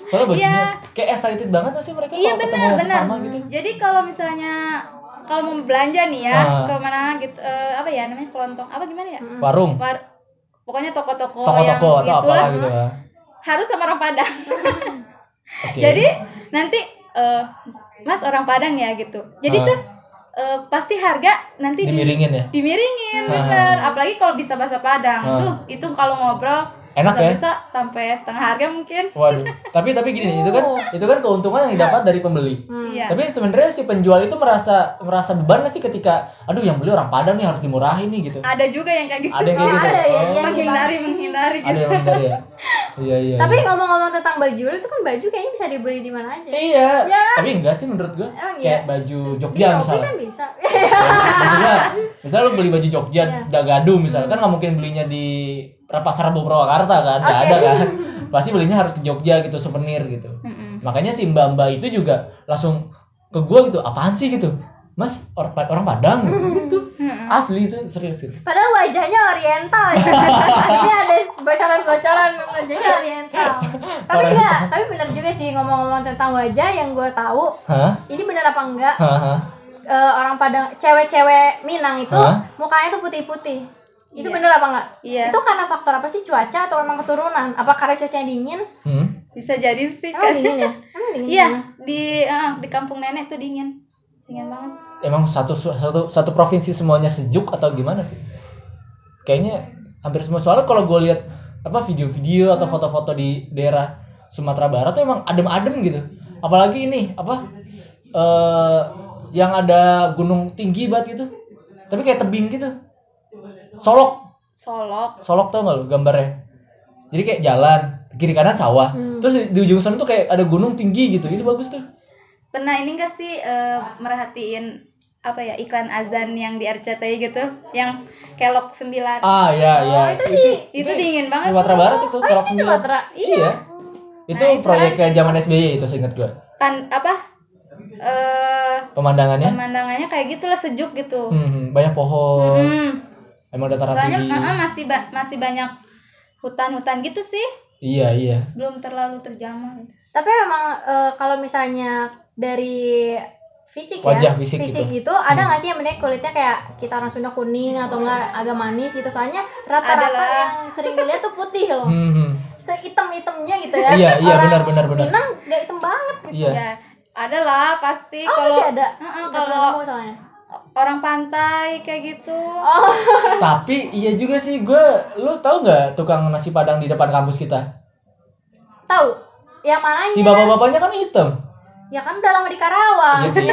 Speaker 1: soalnya bajunya
Speaker 3: Iya.
Speaker 1: kayak excited banget gak sih mereka
Speaker 3: Iya
Speaker 1: kalau
Speaker 3: benar
Speaker 1: ketemu
Speaker 3: benar. Hmm.
Speaker 1: sama gitu
Speaker 3: Jadi kalau misalnya kalau mau belanja nih ya,
Speaker 1: Ah.
Speaker 3: ke mana gitu eh, apa ya namanya kelontong apa gimana ya?
Speaker 1: warung
Speaker 3: War- pokoknya toko-toko Oh, yang
Speaker 1: toko-toko atau
Speaker 3: gitulah
Speaker 1: apalah gitu ya
Speaker 3: harus sama orang Padang.
Speaker 1: Oke.
Speaker 3: Jadi nanti eh, Mas orang Padang ya gitu. Jadi
Speaker 1: Ah.
Speaker 3: tuh eh, pasti harga nanti di-
Speaker 1: dimiringin ya
Speaker 3: dimiringin
Speaker 1: Ah.
Speaker 3: bener. Apalagi kalau bisa bahasa Padang.
Speaker 1: Ah.
Speaker 3: Tuh itu kalau ngobrol
Speaker 1: enak ya
Speaker 3: bisa sampai setengah harga mungkin.
Speaker 1: waduh tapi tapi gini itu
Speaker 2: Oh.
Speaker 1: kan itu kan keuntungan yang didapat dari pembeli
Speaker 2: Hmm.
Speaker 3: Iya.
Speaker 1: Tapi sebenarnya si penjual itu merasa merasa beban gak sih ketika aduh yang beli orang Padang nih harus dimurahin nih gitu.
Speaker 3: Ada juga yang kayak gitu.
Speaker 1: Ada yang
Speaker 2: Oh,
Speaker 1: kayak gitu.
Speaker 2: ada ya,
Speaker 1: Oh,
Speaker 2: iya.
Speaker 3: menghindari menghindari
Speaker 1: ada
Speaker 3: gitu.
Speaker 1: yang benar ya. Iya iya.
Speaker 2: Tapi
Speaker 1: iya.
Speaker 2: ngomong-ngomong tentang baju lu itu kan baju kayaknya bisa dibeli di mana aja.
Speaker 1: Iya. Tapi enggak sih menurut gua.
Speaker 2: ya. Emang
Speaker 1: kayak
Speaker 2: iya?
Speaker 1: baju
Speaker 2: Di
Speaker 1: Jogja
Speaker 2: Shopee
Speaker 1: misalnya.
Speaker 2: kan bisa.
Speaker 1: misalnya misalnya lu beli baju Jogja
Speaker 2: Iya.
Speaker 1: Dagadu misalnya kan nggak mungkin belinya di pasar Rebo Purwakarta kan nggak ada kan pasti belinya harus ke Jogja gitu souvenir gitu
Speaker 3: Mm-mm.
Speaker 1: makanya si mbak mbak itu juga langsung ke gua gitu apaan sih gitu mas or- orang Padang gitu asli itu serius gitu
Speaker 2: Padahal wajahnya oriental ya. Ini ada bocoran-bocoran wajahnya oriental. Tapi
Speaker 1: Oriental.
Speaker 2: enggak, tapi benar juga sih ngomong-ngomong tentang wajah yang gue tahu.
Speaker 1: hah
Speaker 2: Ini benar apa enggak?
Speaker 1: hah hah.
Speaker 2: eh, orang Padang, cewek-cewek Minang itu
Speaker 1: Hah?
Speaker 2: mukanya tuh putih-putih. Itu
Speaker 3: Iya.
Speaker 2: bener apa enggak?
Speaker 3: Iya.
Speaker 2: Itu karena faktor apa sih? Cuaca atau emang keturunan? Apa karena cuacanya dingin?
Speaker 1: hmm
Speaker 3: Bisa jadi sih
Speaker 2: Emang
Speaker 3: kan.
Speaker 2: dingin ya? Emang dingin.
Speaker 3: Iya,
Speaker 2: di mana?
Speaker 3: di ah, di kampung nenek tuh dingin. Dingin banget.
Speaker 1: emang satu satu satu provinsi semuanya sejuk atau gimana sih? Kayaknya hampir semua soalnya kalau gue lihat apa video-video atau foto-foto di daerah Sumatera Barat tuh emang adem-adem gitu. Apalagi ini apa eh yang ada gunung tinggi banget gitu. Tapi kayak tebing gitu. Solok,
Speaker 3: Solok.
Speaker 1: solok tau gak lu gambarnya? Jadi kayak jalan, kiri kanan sawah.
Speaker 2: Hmm.
Speaker 1: Terus di, di ujung sana tuh kayak ada gunung tinggi gitu. Itu bagus tuh.
Speaker 3: Pernah ini gak sih eh, merhatiin apa ya iklan azan yang di RCTI gitu yang kelok 9
Speaker 1: Ah ya ya.
Speaker 2: Oh, itu sih.
Speaker 3: itu dingin banget
Speaker 1: Sumatera Barat itu
Speaker 2: Oh,
Speaker 1: kalau
Speaker 2: itu di
Speaker 1: sembilan.
Speaker 2: Sumatera.
Speaker 1: Iya. Itu
Speaker 3: Nah, itu
Speaker 1: proyeknya zaman SBY itu seingat gua.
Speaker 3: kan apa eh
Speaker 1: Pemandangannya
Speaker 3: pemandangannya kayak gitulah sejuk gitu
Speaker 1: hmm, banyak pohon,
Speaker 3: Hmm.
Speaker 1: emang dataran
Speaker 3: soalnya
Speaker 1: tinggi.
Speaker 2: uh-uh.
Speaker 3: ah, ah, masih ba- masih banyak hutan-hutan gitu sih
Speaker 1: Iya, iya.
Speaker 3: belum terlalu terjamah gitu.
Speaker 2: Tapi memang eh, kalau misalnya dari fisik
Speaker 1: Wajah
Speaker 2: ya,
Speaker 1: fisik Hmm.
Speaker 2: gitu, ada nggak sih yang bener kulitnya kayak kita orang Sunda kuning atau enggak agak manis gitu? Soalnya rata-rata
Speaker 3: Adalah.
Speaker 2: yang sering dilihat tuh putih loh,
Speaker 1: Hmm, hmm.
Speaker 2: sehitam-hitamnya gitu ya.
Speaker 1: Iya, iya,
Speaker 2: Orang
Speaker 1: benar, benar, benar.
Speaker 2: Minang nggak hitam banget gitu.
Speaker 1: Iya.
Speaker 3: ya ada lah pasti
Speaker 2: Oh,
Speaker 3: kalau
Speaker 2: masih ada.
Speaker 3: Ah, ah,
Speaker 2: Nggak pernah
Speaker 3: kalau
Speaker 2: nemu soalnya.
Speaker 3: orang pantai kayak gitu
Speaker 1: Tapi iya juga sih gua, lu tahu nggak tukang nasi Padang di depan kampus kita?
Speaker 2: Tahu? Yang mananya?
Speaker 1: Si bapak-bapaknya kan hitam.
Speaker 2: Ya kan udah lama di
Speaker 1: Iya
Speaker 2: Karawang.
Speaker 1: sih.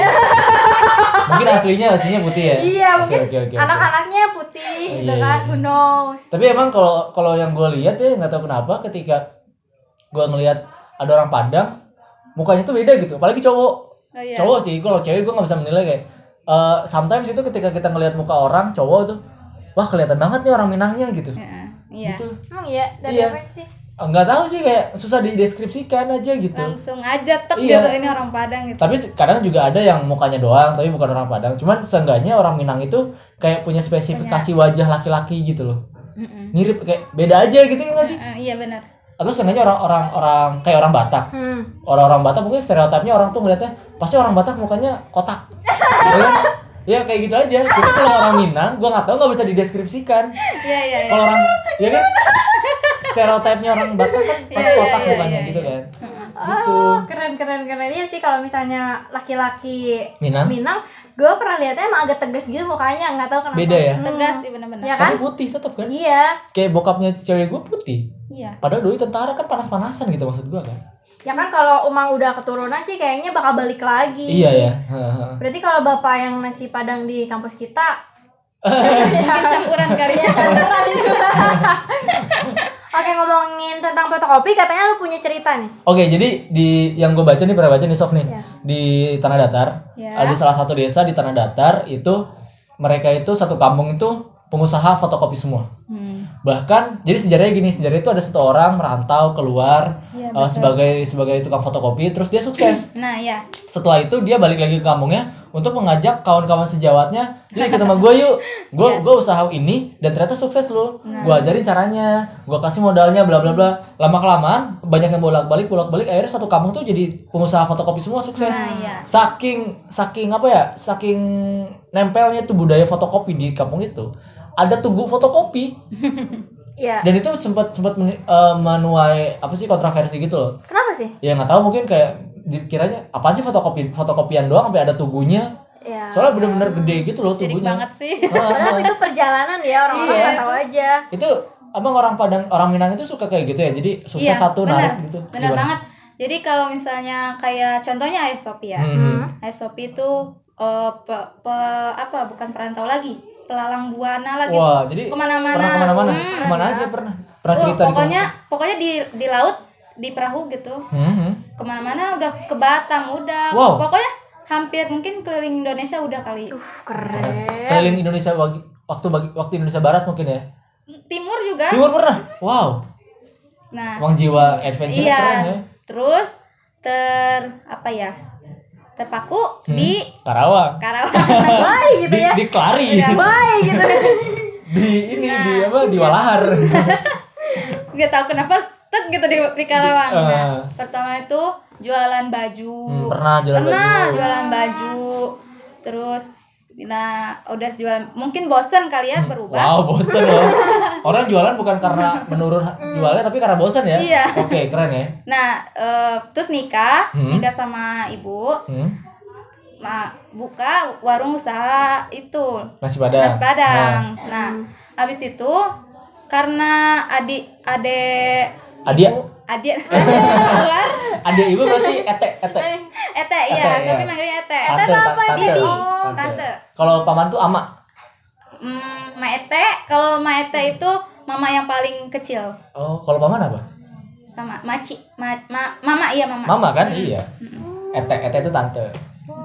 Speaker 1: Mungkin aslinya aslinya putih ya?
Speaker 2: Iya,
Speaker 1: Oke,
Speaker 2: mungkin
Speaker 1: oke, oke, oke.
Speaker 2: anak-anaknya putih gitu
Speaker 1: Iya,
Speaker 2: kan,
Speaker 1: iya.
Speaker 2: who knows.
Speaker 1: Tapi emang kalau kalau yang gue lihat ya nggak tahu kenapa ketika gua ngelihat ada orang Padang mukanya tuh beda gitu, apalagi cowok.
Speaker 3: oh iya
Speaker 1: Cowok sih, kalau cewek gue nggak bisa menilai kayak. eh sometimes itu ketika kita ngelihat muka orang cowok tuh, wah kelihatan banget nih orang Minangnya gitu.
Speaker 3: Heeh, iya
Speaker 1: Gitu.
Speaker 2: Emang iya, dari
Speaker 1: Iya.
Speaker 2: apa sih?
Speaker 1: Nggak tahu sih kayak susah dideskripsikan aja gitu.
Speaker 3: langsung aja tek
Speaker 1: Iya.
Speaker 3: gitu ini orang Padang gitu
Speaker 1: Tapi kadang juga ada yang mukanya doang, tapi bukan orang Padang. Cuman seenggaknya orang Minang itu kayak punya spesifikasi wajah laki-laki gitu loh.
Speaker 3: Mm-mm.
Speaker 1: Mirip kayak beda aja gitu ya nggak sih?
Speaker 3: Eh, iya benar
Speaker 1: Atau seenggaknya orang-orang orang kayak orang Batak.
Speaker 2: Hmm.
Speaker 1: orang-orang Batak mungkin stereotipnya orang tuh ngeliatnya pasti orang Batak mukanya kotak Gitu kan? ya kayak gitu aja tapi kalau orang Minang gua nggak tahu nggak bisa dideskripsikan
Speaker 3: iya iya iya.
Speaker 1: kalau orang ya kan stereotipnya orang Batak kan pasti
Speaker 3: Iya, iya,
Speaker 1: kotak
Speaker 3: iya,
Speaker 1: mukanya
Speaker 3: iya,
Speaker 1: gitu
Speaker 3: iya.
Speaker 1: kan gitu
Speaker 2: Oh, keren keren keren iya sih kalau misalnya laki-laki
Speaker 1: Minang?
Speaker 2: Minang, gue pernah lihatnya emang agak tegas gitu mukanya, nggak tahu kenapa.
Speaker 1: Beda ya?
Speaker 2: Hmm.
Speaker 3: tegas iya benar-benar
Speaker 2: Iya kan?
Speaker 1: tapi putih tetap kan
Speaker 2: Iya,
Speaker 1: kayak bokapnya cewek gua putih
Speaker 3: iya
Speaker 1: padahal doi tentara kan panas-panasan gitu maksud gua kan
Speaker 2: ya kan kalau emang udah keturunan sih kayaknya bakal balik lagi.
Speaker 1: iya ya
Speaker 2: Berarti kalau bapak yang nasi padang di kampus kita
Speaker 3: mungkin campuran kali ya
Speaker 2: Oke ngomongin tentang fotokopi katanya lu punya cerita nih.
Speaker 1: Oke, jadi di yang gue baca nih pernah baca nih Sof nih
Speaker 2: Iya.
Speaker 1: di Tanah Datar, eh,
Speaker 3: Iya.
Speaker 1: di salah satu desa di Tanah Datar itu mereka itu satu kampung itu pengusaha fotokopi semua.
Speaker 3: Hmm.
Speaker 1: bahkan jadi sejarahnya gini sejarahnya itu ada satu orang merantau keluar eh,
Speaker 3: Iya, betul.
Speaker 1: sebagai sebagai tukang fotokopi terus dia sukses
Speaker 3: Nah, ya.
Speaker 1: setelah itu dia balik lagi ke kampungnya untuk mengajak kawan-kawan sejawatnya yuk ikut sama gue yuk gue
Speaker 3: Iya.
Speaker 1: gue usaha ini dan ternyata sukses lu
Speaker 3: Nah.
Speaker 1: gue ajarin caranya gue kasih modalnya bla bla bla lama kelamaan banyak yang bolak balik bolak balik akhirnya satu kampung tuh jadi pengusaha fotokopi semua sukses
Speaker 3: Nah, iya.
Speaker 1: saking saking apa ya saking nempelnya tuh budaya fotokopi di kampung itu ada tugu fotokopi
Speaker 2: Iya.
Speaker 1: dan itu sempat sempat meni- eh, menuai apa sih kontroversi gitu loh
Speaker 2: Kenapa sih?
Speaker 1: ya nggak tahu mungkin kayak dikiranya apaan sih fotokopi fotokopian doang sampai ada tugunya
Speaker 2: Ya.
Speaker 1: soalnya bener-bener gede gitu loh
Speaker 3: Ah, Sirik
Speaker 1: tubuhnya
Speaker 3: banget sih.
Speaker 1: Ah,
Speaker 2: Padahal itu perjalanan ya orang-orang
Speaker 3: Iya.
Speaker 2: nggak tahu aja.
Speaker 1: itu abang orang Padang orang Minang itu suka kayak gitu ya jadi sukses
Speaker 3: Iya,
Speaker 1: satu
Speaker 3: benar.
Speaker 1: narik gitu
Speaker 3: Benar
Speaker 1: Gimana?
Speaker 3: banget. Jadi kalau misalnya kayak contohnya Ayah Sophia.
Speaker 1: Hmm.
Speaker 3: Ayah Sophie itu eh, pe- pe- apa bukan perantau lagi, pelalang buana lagi tuh.
Speaker 1: wah jadi
Speaker 3: gitu, Kemana-mana.
Speaker 1: pernah kemana-mana
Speaker 3: Hmm,
Speaker 1: kemana aja pernah pernah Nah,
Speaker 3: Tuh,
Speaker 1: cerita gitu? di
Speaker 3: pokoknya pokoknya di di laut, di perahu gitu.
Speaker 1: Hmm, hmm.
Speaker 3: Kemana-mana udah ke Batam udah.
Speaker 1: Wow.
Speaker 3: Pokoknya hampir mungkin keliling Indonesia udah kali.
Speaker 2: Uh,
Speaker 3: Eh.
Speaker 2: keren.
Speaker 1: keliling Indonesia bagi- waktu bagi, waktu Indonesia Barat mungkin ya
Speaker 3: Timur juga.
Speaker 1: timur pernah wow
Speaker 3: Nah,
Speaker 1: uang jiwa adventure
Speaker 3: Iya.
Speaker 1: keren ya
Speaker 3: terus ter apa ya? Terpaku
Speaker 1: Hmm.
Speaker 3: di
Speaker 1: Karawang
Speaker 3: Karawang.
Speaker 2: Bye gitu
Speaker 1: di,
Speaker 2: ya.
Speaker 1: di Klari
Speaker 3: Iya.
Speaker 2: Bye gitu.
Speaker 1: di ini di
Speaker 3: Nah,
Speaker 1: apa di Walahar
Speaker 3: Gak tahu kenapa tek gitu di, di Karawang.
Speaker 1: Di-
Speaker 3: Nah,
Speaker 1: eh.
Speaker 3: pertama itu jualan baju.
Speaker 1: Hmm, pernah jalan
Speaker 3: Pernah
Speaker 1: baju.
Speaker 3: jualan baju. Terus nah udah jualan mungkin bosen kali
Speaker 1: Hmm,
Speaker 3: ya berubah.
Speaker 1: Wow, bosen loh. Orang jualan bukan karena menurun ha- jualnya tapi karena bosen ya.
Speaker 3: Mm. Iya.
Speaker 1: Oke, keren ya.
Speaker 3: Nah, eh, terus nikah,
Speaker 1: Hmm.
Speaker 3: nikah sama ibu.
Speaker 1: Hmm.
Speaker 3: Ma, buka warung usaha itu
Speaker 1: Nasi Padang. Ah.
Speaker 3: Nasi Padang. Nah, habis itu karena adik adek
Speaker 1: Adik.
Speaker 3: ibu- adik keluar
Speaker 1: Nah, Adik ibu berarti etek, etek.
Speaker 2: Eh,
Speaker 3: Ete
Speaker 1: Tante,
Speaker 3: ya,
Speaker 1: iya.
Speaker 3: Sophie manggilnya Ete.
Speaker 1: Tante, apa tante.
Speaker 3: Bibi.
Speaker 1: Tante.
Speaker 3: Oh, Tante.
Speaker 1: Kalau paman tuh ama.
Speaker 3: Hmm, Ma Ete, kalau Ma Ete itu mama yang paling kecil
Speaker 1: Oh, kalau paman apa?
Speaker 3: sama Maci, ma, ma- mama iya mama.
Speaker 1: Mama kan? Iya. Etek, etek itu tante.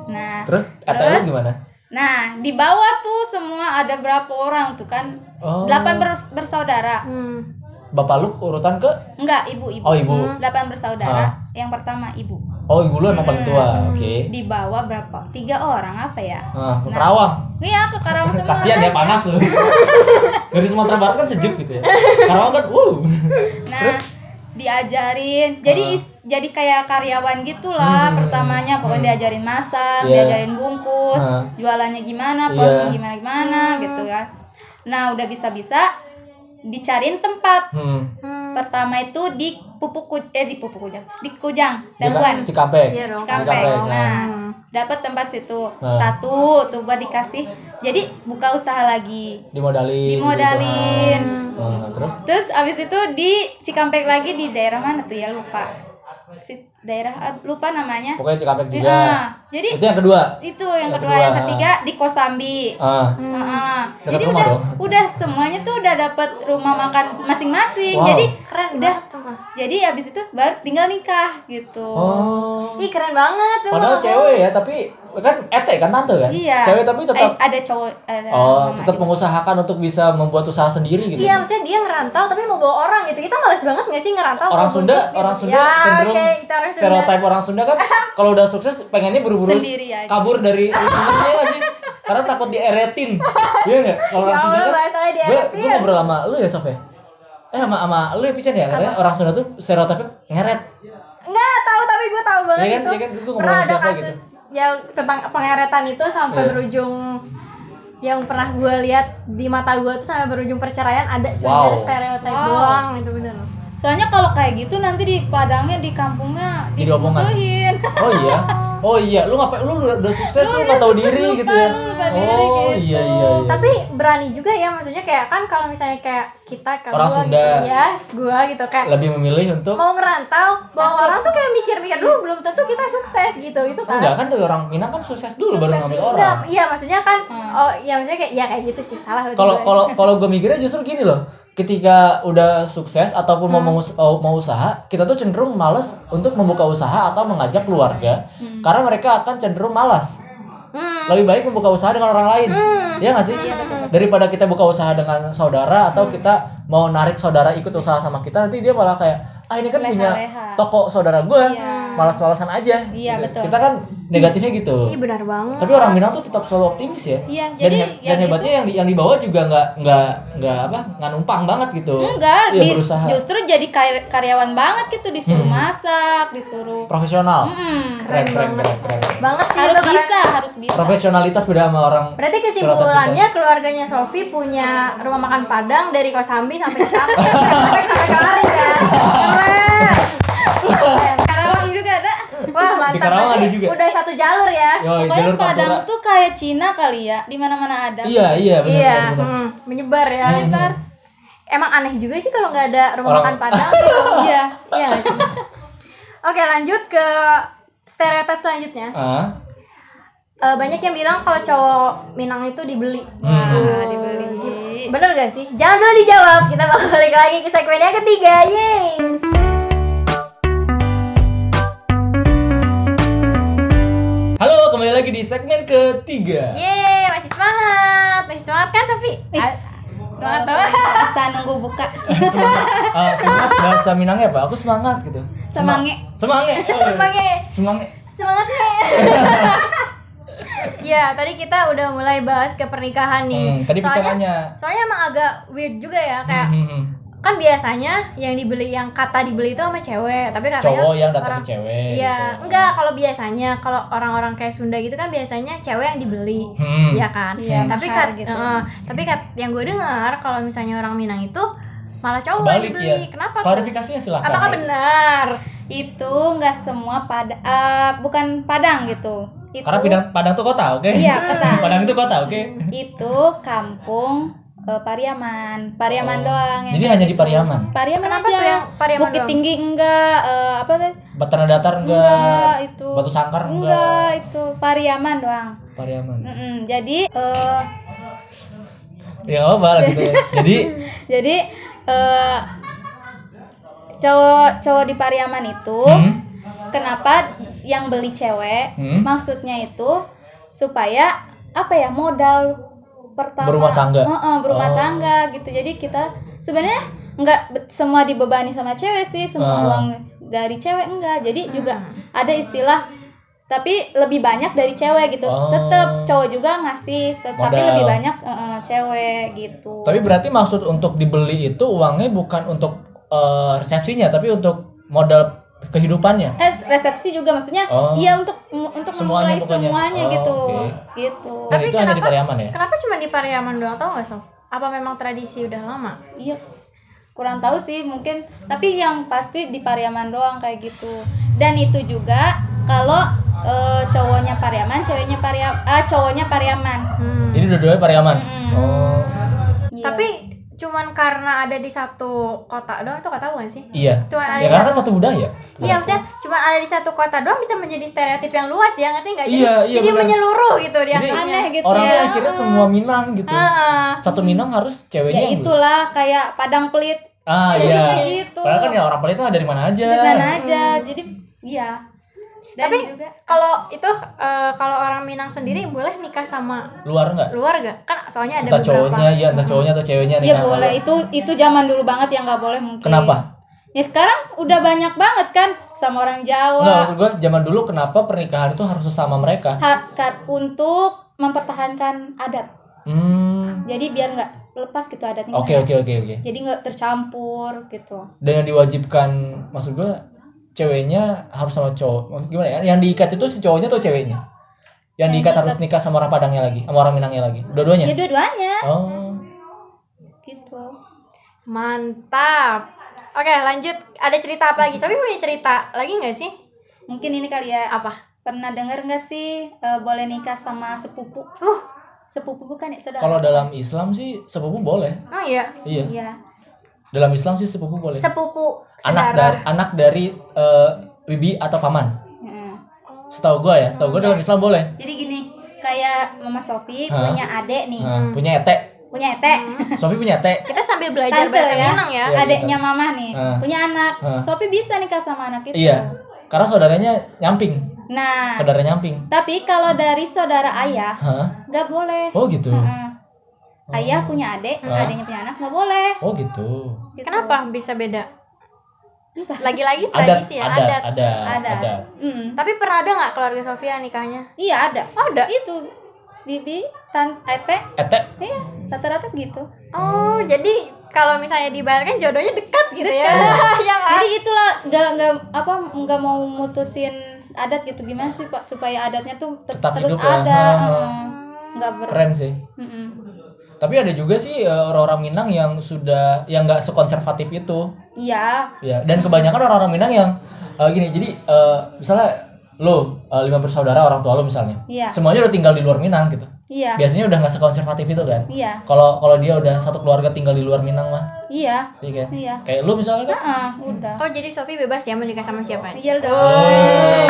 Speaker 3: Nah,
Speaker 1: Terus etek lu gimana?
Speaker 3: nah di bawah tuh semua ada berapa orang tuh kan?
Speaker 1: Oh.
Speaker 3: Delapan bers- bersaudara.
Speaker 2: Hmm.
Speaker 1: Bapak lu urutan ke?
Speaker 3: Enggak, ibu-ibu.
Speaker 1: Oh, ibu. Ah.
Speaker 3: Delapan bersaudara. Yang pertama ibu.
Speaker 1: Oh, ibu lu emang paling tua. Oke.
Speaker 3: Di bawah berapa? Tiga orang apa ya?
Speaker 1: Nah, ke Karawang.
Speaker 3: Iya, ke Karawang semua.
Speaker 1: Kasihan ya panas lu. Dari Sumatera Barat kan sejuk gitu ya. Karawang kan, wow.
Speaker 3: Nah, diajarin. Jadi is- jadi kayak karyawan
Speaker 1: Ah.
Speaker 3: gitulah
Speaker 1: Hmm,
Speaker 3: pertamanya pokoknya diajarin masak,
Speaker 1: Iya.
Speaker 3: diajarin bungkus,
Speaker 1: Heeh.
Speaker 3: jualannya gimana,
Speaker 1: Iya.
Speaker 3: posting gimana gimana gitu kan. Nah, udah bisa-bisa dicariin tempat.
Speaker 1: Hmm.
Speaker 2: Hmm.
Speaker 3: Pertama itu di pupuk Ku- eh di pupuk Kujang, di Kujang, Daguan,
Speaker 1: kan? Cikampek.
Speaker 2: Iya dong.
Speaker 3: Cikampek.
Speaker 1: Cikampek,
Speaker 3: Nah,
Speaker 2: Hmm.
Speaker 3: dapat tempat situ.
Speaker 1: Nah.
Speaker 3: Satu tuh buat dikasih. Jadi buka usaha lagi.
Speaker 1: dimodalin
Speaker 3: Dimodalin.
Speaker 1: gitu. Nah, terus
Speaker 3: Terus abis itu di Cikampek lagi di daerah mana tuh ya lupa. Si daerah ah, lupa
Speaker 2: Eh,
Speaker 3: namanya.
Speaker 1: pokoknya cikampek juga
Speaker 3: Ah, jadi
Speaker 1: itu yang kedua
Speaker 3: itu
Speaker 1: yang
Speaker 3: yang kedua,
Speaker 1: kedua.
Speaker 3: yang ketiga di Kosambi.
Speaker 1: ah
Speaker 3: Ah,
Speaker 1: Dekat
Speaker 3: jadi
Speaker 1: rumah
Speaker 3: udah
Speaker 1: dong.
Speaker 3: udah semuanya tuh udah dapat rumah makan masing-masing.
Speaker 1: Wow.
Speaker 3: Jadi
Speaker 2: Keren
Speaker 3: udah
Speaker 2: banget sumpah.
Speaker 3: jadi abis itu baru tinggal nikah gitu.
Speaker 1: oh
Speaker 2: Ih keren banget tuh.
Speaker 1: padahal cewek ya tapi kan ete kan tante kan
Speaker 3: Iya.
Speaker 1: cewek tapi tetap
Speaker 3: Eh, ada cowok ada
Speaker 1: oh
Speaker 3: mama gitu.
Speaker 1: tetap
Speaker 3: juga.
Speaker 1: mengusahakan untuk bisa membuat usaha sendiri gitu
Speaker 2: Iya, maksudnya dia ngerantau tapi mau bawa orang gitu. Kita males banget gak sih ngerantau?
Speaker 1: orang
Speaker 2: mau
Speaker 1: Sunda
Speaker 2: buntut,
Speaker 1: orang
Speaker 2: gitu.
Speaker 1: Sunda
Speaker 2: ya,
Speaker 1: cenderung
Speaker 2: kayak kita orang Sunda.
Speaker 1: stereotip orang Sunda kan kalau udah sukses pengennya buru-buru
Speaker 3: sendiri aja.
Speaker 1: kabur dari rumahnya nggak sih karena takut dieretin iya nggak kalau
Speaker 2: Ya
Speaker 1: orang Sunda
Speaker 2: Allah,
Speaker 1: kan
Speaker 2: bahasanya
Speaker 1: gue
Speaker 2: dieretin.
Speaker 1: gue ngobrol sama lu ya Sof ya eh sama sama lu ya Pisan ya katanya orang Sunda tuh stereotipnya ngeret
Speaker 2: Enggak tahu tapi gue tahu banget
Speaker 1: Iya kan,
Speaker 2: itu.
Speaker 1: iya kan, gue ngomong
Speaker 2: pernah
Speaker 1: sama
Speaker 2: ada
Speaker 1: siapa
Speaker 2: kasus yang tentang pengeretan itu sampai
Speaker 1: Iya.
Speaker 2: berujung yang pernah gue lihat di mata gue tuh sampai berujung perceraian ada
Speaker 1: Wow.
Speaker 2: cuma dari stereotip
Speaker 3: Wow.
Speaker 2: doang itu bener.
Speaker 3: Soalnya kalau kayak gitu nanti di Padangnya di kampungnya
Speaker 1: Jadi omongan.
Speaker 3: dimusuhin.
Speaker 1: Oh iya. Oh iya, lu ngapain lu udah udah sukses lu nggak tahu diri gitu ya.
Speaker 3: lu lupa diri
Speaker 1: Oh
Speaker 3: gitu.
Speaker 1: iya iya iya.
Speaker 2: Tapi berani juga ya maksudnya kayak kan kalau misalnya kayak kita kalau
Speaker 1: Orang
Speaker 2: gua
Speaker 1: Sunda.
Speaker 2: gitu ya, gue gitu kayak
Speaker 1: lebih memilih untuk
Speaker 2: mau ngerantau bawa orang tuh kayak mikir-mikir dulu belum tentu kita sukses gitu itu
Speaker 1: Oh,
Speaker 2: kan
Speaker 1: enggak kan tuh orang Minang kan sukses dulu baru
Speaker 3: Sukses
Speaker 1: ngambil
Speaker 3: dulu.
Speaker 1: orang.
Speaker 2: Enggak, iya maksudnya kan
Speaker 3: Hmm.
Speaker 2: oh iya maksudnya kayak ya kayak gitu sih salah
Speaker 3: Iya,
Speaker 2: berarti
Speaker 1: Kalau
Speaker 3: ya.
Speaker 2: gua.
Speaker 1: kalau kalau gue mikirnya justru gini loh. Ketika udah sukses ataupun mau
Speaker 3: Hmm.
Speaker 1: mengus- mau mau usaha, kita tuh cenderung
Speaker 3: Hmm.
Speaker 1: malas untuk membuka usaha atau mengajak keluarga karena mereka akan cenderung malas.
Speaker 2: Hmm.
Speaker 1: lebih baik membuka usaha dengan orang lain
Speaker 3: Hmm.
Speaker 1: Iya nggak sih daripada kita buka usaha dengan saudara
Speaker 3: Hmm.
Speaker 1: atau kita mau narik saudara ikut usaha sama kita nanti dia malah kayak ah ini kan punya
Speaker 3: Iya. Leha-leha.
Speaker 1: toko saudara gue
Speaker 3: Iya.
Speaker 1: malas-malasan aja
Speaker 3: Iya,
Speaker 1: Gitu.
Speaker 3: betul.
Speaker 1: kita kan negatifnya gitu
Speaker 2: Iya benar banget.
Speaker 1: tapi orang Minang tuh tetap selalu optimis ya
Speaker 3: Iya,
Speaker 1: dan,
Speaker 3: jadi
Speaker 1: he- dan
Speaker 3: yang
Speaker 1: hebatnya yang di, yang dibawa juga nggak nggak nggak apa nggak numpang banget gitu
Speaker 3: Enggak,
Speaker 1: Iya,
Speaker 3: di-
Speaker 1: berusaha
Speaker 3: justru jadi kar- karyawan banget gitu disuruh
Speaker 1: Hmm.
Speaker 3: masak, disuruh
Speaker 1: profesional
Speaker 3: Hmm,
Speaker 1: keren keren keren keren
Speaker 2: Mm, Banget sih
Speaker 3: harus
Speaker 2: lo, karena-
Speaker 3: bisa, harus bisa.
Speaker 1: profesionalitas beda sama orang
Speaker 2: Berarti
Speaker 1: kan.
Speaker 2: kesimpulannya keluarganya Sofi punya rumah makan Padang dari Kosambi sampai ke Sakti, sampai sampai Kelari kan. Keren. Keren.
Speaker 3: Karawang juga ada.
Speaker 2: Wah, mantap.
Speaker 1: Di Karawang
Speaker 2: Berarti
Speaker 1: ada juga.
Speaker 2: Udah satu jalur ya.
Speaker 1: Yoi, Oh,
Speaker 3: Pokoknya
Speaker 1: jalur
Speaker 3: Padang
Speaker 1: pantura
Speaker 3: tuh kayak Cina kali ya, di mana-mana ada.
Speaker 1: iya iya benar
Speaker 2: iya,
Speaker 1: benar, benar.
Speaker 2: hmm, menyebar ya.
Speaker 1: Menyebar.
Speaker 2: Emang aneh juga sih kalau nggak ada rumah
Speaker 1: Orang-
Speaker 2: makan Padang.
Speaker 3: Iya.
Speaker 2: Iya nggak sih? Oke, lanjut ke stereotip selanjutnya.
Speaker 1: Ah,
Speaker 2: Eh, banyak yang bilang kalau cowok Minang itu dibeli.
Speaker 3: Wah,
Speaker 2: Hmm.
Speaker 3: dibeli.
Speaker 2: Bener gak sih? Jangan dulu dijawab, kita bakal balik lagi ke segmen yang ketiga, yeay!
Speaker 1: halo kembali lagi di segmen ketiga
Speaker 2: Yeay, masih semangat! Masih semangat kan, Sofi?
Speaker 3: Is.
Speaker 2: A- Semangat banget!
Speaker 3: Bisa nunggu buka.
Speaker 1: semangat Ah, semangat bahasa Minangnya apa aku semangat gitu
Speaker 3: Semange.
Speaker 1: semangat
Speaker 2: Semange.
Speaker 1: semangat
Speaker 2: Semangat nih! ya, tadi kita udah mulai bahas ke pernikahan nih.
Speaker 1: Hmm, tadi
Speaker 2: soalnya,
Speaker 1: bicaranya
Speaker 2: Soalnya emang agak weird juga ya, kayak
Speaker 1: Hmm, hmm,
Speaker 2: kan biasanya yang dibeli yang kata dibeli itu sama cewek, tapi
Speaker 1: hmm.
Speaker 2: katanya
Speaker 1: cowok yang datang
Speaker 2: orang-
Speaker 1: ke cewek
Speaker 2: Iya,
Speaker 1: gitu.
Speaker 2: enggak kalau biasanya kalau orang-orang kayak Sunda gitu kan biasanya cewek yang dibeli.
Speaker 1: Hmm.
Speaker 2: Iya kan?
Speaker 3: Iya,
Speaker 2: tapi
Speaker 3: mahar
Speaker 2: kat,
Speaker 3: gitu.
Speaker 2: eh, tapi kat- yang gue dengar kalau misalnya orang Minang itu malah cowok
Speaker 1: balik
Speaker 2: yang
Speaker 1: ya
Speaker 2: dibeli. Kenapa? tuh?
Speaker 1: klarifikasinya silahkan
Speaker 2: Apakah benar?
Speaker 3: Itu nggak semua pada eh, bukan Padang gitu. Itu
Speaker 1: karena Padang, Padang tuh kota oke
Speaker 3: Iya, kota.
Speaker 1: Padang itu kota oke
Speaker 3: Itu kampung eh, Pariaman. Pariaman
Speaker 1: Oh.
Speaker 3: doang. yang
Speaker 1: jadi
Speaker 3: kayak
Speaker 1: hanya di
Speaker 3: gitu.
Speaker 1: Pariaman
Speaker 3: Pariaman
Speaker 2: Kenapa
Speaker 3: aja.
Speaker 2: tuh yang Pariaman
Speaker 3: Bukit
Speaker 2: doang?
Speaker 3: Tinggi enggak eh, apa tuh?
Speaker 1: Tanah datar
Speaker 3: Enggak,
Speaker 1: enggak
Speaker 3: itu.
Speaker 1: Batu Sangkar
Speaker 3: Enggak,
Speaker 1: enggak Hmm.
Speaker 3: itu Pariaman doang.
Speaker 1: Pariaman
Speaker 3: Mm-mm, Jadi eh,
Speaker 1: ya nggak apa-apa lah gitu ya jadi
Speaker 3: jadi eh, cowok cowok di Pariaman itu
Speaker 1: hmm,
Speaker 3: kenapa yang beli cewek
Speaker 1: Hmm.
Speaker 3: maksudnya itu supaya apa ya modal pertama
Speaker 1: Berumah tangga.
Speaker 3: Heeh, berumah
Speaker 1: Oh.
Speaker 3: tangga gitu jadi kita sebenarnya nggak be- semua dibebani sama cewek sih
Speaker 1: Ah.
Speaker 3: semua uang dari cewek enggak jadi juga ada istilah tapi lebih banyak dari cewek gitu
Speaker 1: Oh.
Speaker 3: tetap cowok juga ngasih tet- tapi
Speaker 1: Modal.
Speaker 3: lebih banyak eh, cewek gitu
Speaker 1: tapi berarti maksud untuk dibeli itu uangnya bukan untuk eh, resepsinya tapi untuk modal kehidupannya
Speaker 3: eh resepsi juga maksudnya
Speaker 1: Oh.
Speaker 3: iya untuk untuk
Speaker 1: Semuanya
Speaker 3: memulai
Speaker 1: pokoknya.
Speaker 3: semuanya
Speaker 1: Oh,
Speaker 3: gitu
Speaker 1: oke.
Speaker 3: gitu
Speaker 1: dan itu hanya di Pariaman ya
Speaker 2: Kenapa cuma di Pariaman doang tau gak Sof? Apa memang tradisi udah lama?
Speaker 3: Iya, kurang tahu sih mungkin. Tapi yang pasti di Pariaman doang kayak gitu. Dan itu juga kalau eh, cowoknya Pariaman, ceweknya Pariaman, ah cowoknya Pariaman.
Speaker 2: Hmm.
Speaker 1: jadi dua-duanya Pariaman
Speaker 3: Mm-mm.
Speaker 1: oh
Speaker 3: Iya.
Speaker 2: Tapi cuman karena ada di satu kota doang itu kata gak sih?
Speaker 1: iya
Speaker 2: Cuma ada
Speaker 1: ya
Speaker 2: di
Speaker 1: karena
Speaker 2: satu-
Speaker 1: kan satu budaya
Speaker 2: Iya maksudnya cuma ada di satu kota doang bisa menjadi stereotip yang luas ya ngerti nggak? Jadi-
Speaker 1: Iya, iya,
Speaker 2: Jadi
Speaker 1: benar.
Speaker 2: menyeluruh gitu dia.
Speaker 1: Jadi-
Speaker 3: aneh gitu
Speaker 1: Nah, orang tuh
Speaker 3: ya. Ah,
Speaker 1: akhirnya semua Minang gitu satu Minang harus ceweknya
Speaker 3: Ya
Speaker 1: yang beli.
Speaker 3: itulah kayak Padang Pelit
Speaker 1: ah
Speaker 3: Jadi
Speaker 1: iya
Speaker 3: kayak gitu.
Speaker 1: padahal kan ya orang pelit mah dari mana aja
Speaker 3: di mana aja. Jadi iya. Dan
Speaker 2: Tapi
Speaker 3: juga
Speaker 2: kalau itu eh, kalau orang Minang sendiri boleh nikah sama
Speaker 1: luar enggak
Speaker 2: luar gak? Kan soalnya ada
Speaker 1: entah
Speaker 2: beberapa.
Speaker 1: cowoknya ya entah cowoknya atau ceweknya
Speaker 3: Iya
Speaker 1: nikah.
Speaker 3: boleh itu itu zaman dulu banget yang nggak boleh mungkin.
Speaker 1: kenapa
Speaker 3: Ya sekarang udah banyak banget kan sama orang Jawa.
Speaker 1: Enggak, maksud gua zaman dulu kenapa pernikahan itu harus sesama mereka
Speaker 3: hak untuk mempertahankan adat
Speaker 1: hmm
Speaker 3: jadi biar nggak lepas gitu adatnya
Speaker 1: oke
Speaker 3: kan ya.
Speaker 1: oke oke oke
Speaker 3: jadi nggak tercampur gitu
Speaker 1: dan yang diwajibkan maksud gua ceweknya harus sama cowok gimana ya yang diikat itu si cowoknya atau ceweknya yang,
Speaker 3: Yang
Speaker 1: diikat
Speaker 3: diikat.
Speaker 1: harus nikah sama orang Padangnya lagi sama orang Minangnya lagi dua-duanya
Speaker 3: ya dua-duanya
Speaker 1: oh
Speaker 3: gitu
Speaker 2: Mantap. Oke lanjut ada cerita apa lagi? Sofi punya cerita lagi nggak sih?
Speaker 3: mungkin ini kali ya
Speaker 2: Apa?
Speaker 3: pernah dengar nggak sih eh, boleh nikah sama sepupu
Speaker 2: Uh,
Speaker 3: sepupu bukan ya saudara
Speaker 1: kalau dalam Islam sih sepupu boleh
Speaker 2: oh iya.
Speaker 1: iya
Speaker 3: iya
Speaker 1: dalam Islam sih sepupu boleh
Speaker 2: Sepupu
Speaker 1: anak dari
Speaker 2: saudara.
Speaker 1: anak dari eh, bibi atau paman
Speaker 3: Heeh.
Speaker 1: setahu gua ya setahu gua
Speaker 3: Iya.
Speaker 1: dalam Islam boleh
Speaker 3: jadi gini kayak mama Sofi
Speaker 1: Hah?
Speaker 3: punya adek nih
Speaker 1: Nah, punya ete
Speaker 3: punya ete
Speaker 1: Sofi punya ete
Speaker 2: Kita sambil belajar
Speaker 3: Tante
Speaker 2: bahasa
Speaker 3: ya.
Speaker 2: Minang ya.
Speaker 1: Iya,
Speaker 3: adeknya mama nih
Speaker 1: Hah.
Speaker 3: punya anak
Speaker 1: Hah.
Speaker 3: Sofi bisa nikah sama anak itu
Speaker 1: iya karena Iya. saudaranya nyamping
Speaker 3: Gitu. Nah,
Speaker 1: Saudara nyamping.
Speaker 3: tapi kalau dari saudara ayah
Speaker 1: Hah?
Speaker 3: nggak boleh.
Speaker 1: Oh gitu.
Speaker 3: Heeh. Ayah punya adik,
Speaker 1: Hah?
Speaker 3: adiknya punya anak nggak boleh.
Speaker 1: Oh gitu.
Speaker 3: Gitu.
Speaker 2: Kenapa bisa beda? Lagi-lagi
Speaker 1: Adat,
Speaker 2: tradisi ya,
Speaker 1: adat,
Speaker 2: adat.
Speaker 1: adat, adat,
Speaker 3: Ada. Mm.
Speaker 2: Tapi pernah ada nggak keluarga Sofia nikahnya?
Speaker 3: Iya ada.
Speaker 2: Oh, Ada.
Speaker 3: Itu bibi, tan, ete,
Speaker 1: Ete,
Speaker 3: iya rata-rata segitu.
Speaker 2: Oh, jadi kalau misalnya dibayarkan jodohnya dekat gitu ya.
Speaker 3: Dekat.
Speaker 2: ya kan?
Speaker 3: Jadi itulah nggak nggak apa nggak mau mutusin adat gitu gimana sih pak supaya adatnya tuh ter-
Speaker 1: Tetap
Speaker 3: terus
Speaker 1: hidup ya.
Speaker 3: ada
Speaker 1: Ha, ha.
Speaker 3: heeh. nggak ber
Speaker 1: keren sih.
Speaker 3: Mm-mm.
Speaker 1: Tapi ada juga sih eh, orang-orang Minang yang sudah yang nggak sekonservatif itu.
Speaker 3: Iya
Speaker 1: Ya, dan kebanyakan orang-orang Minang yang eh, gini. Jadi eh, misalnya lo eh, lima bersaudara orang tua lo misalnya.
Speaker 3: Iya.
Speaker 1: Semuanya udah tinggal di luar Minang gitu.
Speaker 3: iya
Speaker 1: Biasanya udah nggak sekonservatif itu kan.
Speaker 3: iya
Speaker 1: Kalau kalau dia udah satu keluarga tinggal di luar Minang mah,
Speaker 3: iya
Speaker 1: iya kan?
Speaker 3: iya
Speaker 1: Kayak lu misalnya kan.
Speaker 3: Heeh, udah
Speaker 2: Oh, jadi Sofia bebas ya mau nikah sama siapa?
Speaker 3: iya dong
Speaker 1: Oh,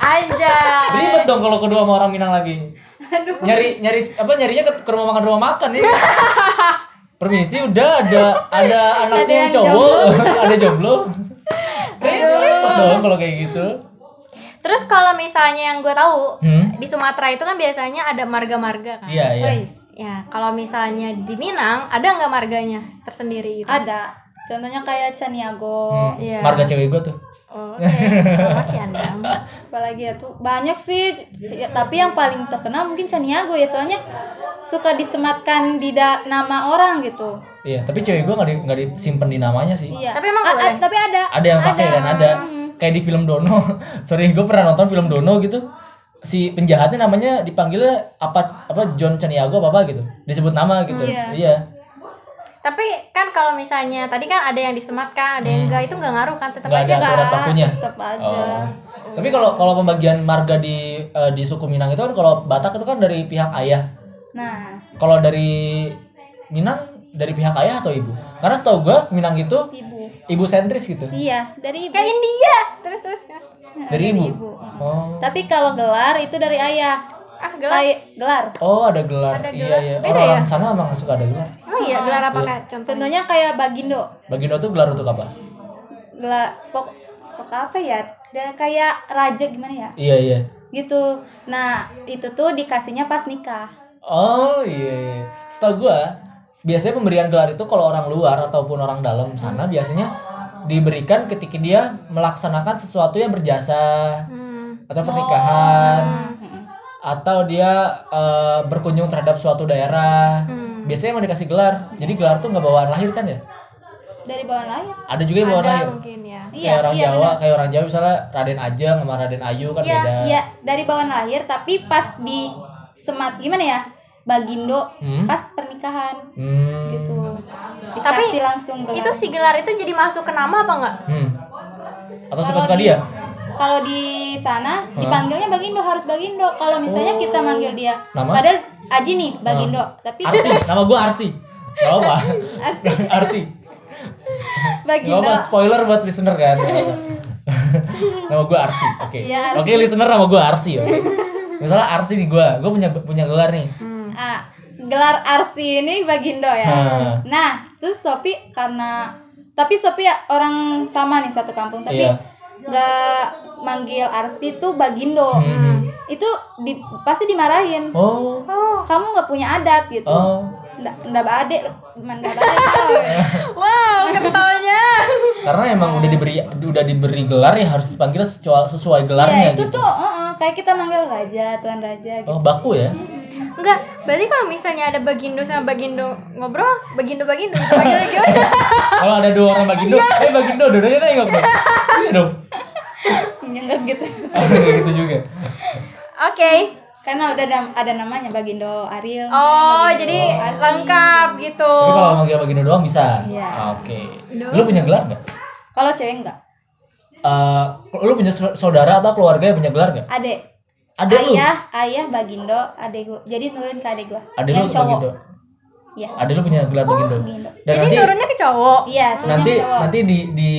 Speaker 2: Aja.
Speaker 1: Ribet dong kalau kedua sama orang Minang lagi. Nyari nyari apa nyarinya ke, ke rumah makan rumah makan ya. Permisi udah ada ada anaknya yang
Speaker 3: yang
Speaker 1: cowok, ada jomblo. Ribet dong kalau kayak gitu.
Speaker 2: Terus kalau misalnya yang gue tahu
Speaker 1: Hmm?
Speaker 2: di Sumatera itu kan biasanya ada marga-marga kan.
Speaker 1: Iya, iya.
Speaker 3: Guys,
Speaker 2: Ya, kalau misalnya di Minang ada nggak marganya tersendiri gitu?
Speaker 3: ada contohnya kayak Caniago
Speaker 1: Hmm,
Speaker 2: iya.
Speaker 1: Marga cewek gua tuh.
Speaker 2: Oh, Oke, okay. masih ada.
Speaker 3: apalagi ya tuh banyak sih Ya, tapi yang paling terkenal mungkin Caniago ya soalnya suka disematkan di da- nama orang gitu
Speaker 1: Iya, tapi cewek gua nggak di, nggak disimpan di namanya sih.
Speaker 3: iya
Speaker 2: Tapi emang
Speaker 3: A- a-
Speaker 2: boleh?
Speaker 3: tapi ada
Speaker 1: ada yang pakai dan ada kayak di film Dono sorry gue pernah nonton film Dono gitu si penjahatnya namanya dipanggilnya apa apa John Caniago apa apa gitu disebut nama gitu
Speaker 3: Iya.
Speaker 1: iya
Speaker 2: Tapi kan kalau misalnya tadi kan ada yang disematkan, ada yang enggak itu enggak ngaruh kan tetap
Speaker 1: nggak ada
Speaker 2: aja.
Speaker 1: aturan bakunya
Speaker 3: Iya, tetap aja
Speaker 1: oh. tapi kalau kalau pembagian marga di eh, di suku Minang itu kan kalau Batak itu kan dari pihak ayah
Speaker 3: nah
Speaker 1: kalau dari Minang dari pihak ayah atau ibu karena setahu gue Minang itu
Speaker 3: ibu
Speaker 1: ibu sentris gitu
Speaker 3: iya dari ibu
Speaker 2: Kayak India. Terus terus.
Speaker 3: Nah,
Speaker 1: dari ibu oh
Speaker 3: tapi kalau gelar itu dari ayah
Speaker 2: Ah, gelar.
Speaker 3: kayak gelar
Speaker 1: oh ada gelar,
Speaker 2: Ada
Speaker 1: iya
Speaker 2: gelar.
Speaker 1: iya
Speaker 2: Beda
Speaker 1: orang-orang sana emang suka ada gelar
Speaker 2: Emang iya gelar apa Kak? Contohnya.
Speaker 3: contohnya kayak bagindo
Speaker 1: Bagindo tuh gelar untuk apa
Speaker 3: gelar pok, pok apa ya dan kayak raja gimana ya
Speaker 1: Iya iya.
Speaker 3: gitu nah itu tuh dikasihnya pas nikah
Speaker 1: Oh iya. iya. Setahu gua biasanya pemberian gelar itu kalau orang luar ataupun orang dalam sana biasanya diberikan ketika dia melaksanakan sesuatu yang berjasa
Speaker 2: Hmm.
Speaker 1: atau pernikahan
Speaker 3: Oh.
Speaker 1: atau dia eh, berkunjung terhadap suatu daerah.
Speaker 2: Hmm.
Speaker 1: Biasanya emang dikasih gelar. Jadi gelar tuh nggak bawaan lahir kan ya?
Speaker 3: dari bawah lahir
Speaker 1: Ada juga yang bawaan
Speaker 2: Ada
Speaker 1: lahir.
Speaker 2: mungkin ya.
Speaker 1: kayak orang
Speaker 3: iya
Speaker 1: Jawa, kayak orang Jawa misalnya Raden Ajeng sama Raden Ayu kan
Speaker 2: Iya,
Speaker 1: beda.
Speaker 3: iya dari bawah lahir tapi pas di semat gimana ya bagindo
Speaker 1: Hmm?
Speaker 3: pas pernikahan
Speaker 1: Hmm.
Speaker 3: gitu dikasih
Speaker 2: Tapi
Speaker 3: langsung kan. gelar
Speaker 2: Itu si gelar itu jadi masuk ke nama apa enggak?
Speaker 1: Hmm. Atau
Speaker 3: Kalau
Speaker 1: suka-suka
Speaker 3: di-
Speaker 1: dia? Hmm.
Speaker 3: kalau di sana dipanggilnya bagindo harus bagindo kalau misalnya kita manggil dia
Speaker 1: Oh. Nama? Oh.
Speaker 3: padahal Aji nih bagindo tapi
Speaker 1: Arsi, nama gue Arsi. Gak apa.
Speaker 3: Arsi.
Speaker 1: Arsi. Gak
Speaker 3: bagindo
Speaker 1: apa, spoiler buat listener kan. Gak apa. nama gue Arsi. Oke.
Speaker 3: Iya, Arsi.
Speaker 1: Oke, listener nama gue Arsi ya. Misalnya Arsi nih gue, gue punya punya gelar nih.
Speaker 3: Ah, gelar Arsi ini bagindo ya
Speaker 1: Hmm.
Speaker 3: nah terus Sopi karena tapi Sopi ya orang sama nih satu kampung tapi
Speaker 1: Iya.
Speaker 3: nggak manggil Arsi tuh bagindo
Speaker 1: Hmm.
Speaker 3: itu di, pasti dimarahin
Speaker 1: Oh,
Speaker 2: Oh.
Speaker 3: kamu nggak punya adat gitu
Speaker 1: oh,
Speaker 3: nggak nggak badek nggak badek
Speaker 2: Wow, ketawanya.
Speaker 1: karena emang udah diberi udah diberi gelar ya harus dipanggil sesuai, sesuai
Speaker 3: ya
Speaker 1: gelarnya
Speaker 3: itu
Speaker 1: gitu.
Speaker 3: tuh uh-uh, kayak kita manggil raja tuan raja gitu
Speaker 1: Oh, baku ya.
Speaker 2: Enggak, berarti kalau misalnya ada Bagindo sama Bagindo ngobrol, Bagindo Bagindo itu panggilnya gimana?
Speaker 1: Kalau ada dua orang Bagindo,
Speaker 3: Iya.
Speaker 1: eh Bagindo dua-duanya nengok dong. Iya dong.
Speaker 3: nyenggak gitu
Speaker 1: Oh, kayak gitu juga.
Speaker 2: Oke.
Speaker 3: karena udah ada, ada namanya bagindo Ariel
Speaker 2: Oh, jadi lengkap gitu.
Speaker 1: Tapi kalau manggil Bagindo doang bisa.
Speaker 3: Iya.
Speaker 1: Oke. Lu punya gelar nggak?
Speaker 3: kalau cewek enggak
Speaker 1: Eh, lu punya sau- saudara atau keluarga yang punya gelar gak?
Speaker 3: adek
Speaker 1: Ada lu?
Speaker 3: ayah ayah bagindo adek gua jadi nurun ke adek gua
Speaker 1: Ada lu
Speaker 3: yang cowok
Speaker 1: Bagindo.
Speaker 3: Iya.
Speaker 1: Ada lu punya gelar Bagindo.
Speaker 3: Bagindo.
Speaker 1: Dan
Speaker 2: jadi
Speaker 1: nanti
Speaker 2: turunnya ke cowok.
Speaker 3: iya tuh
Speaker 1: nanti
Speaker 3: yang cowok
Speaker 1: nanti di di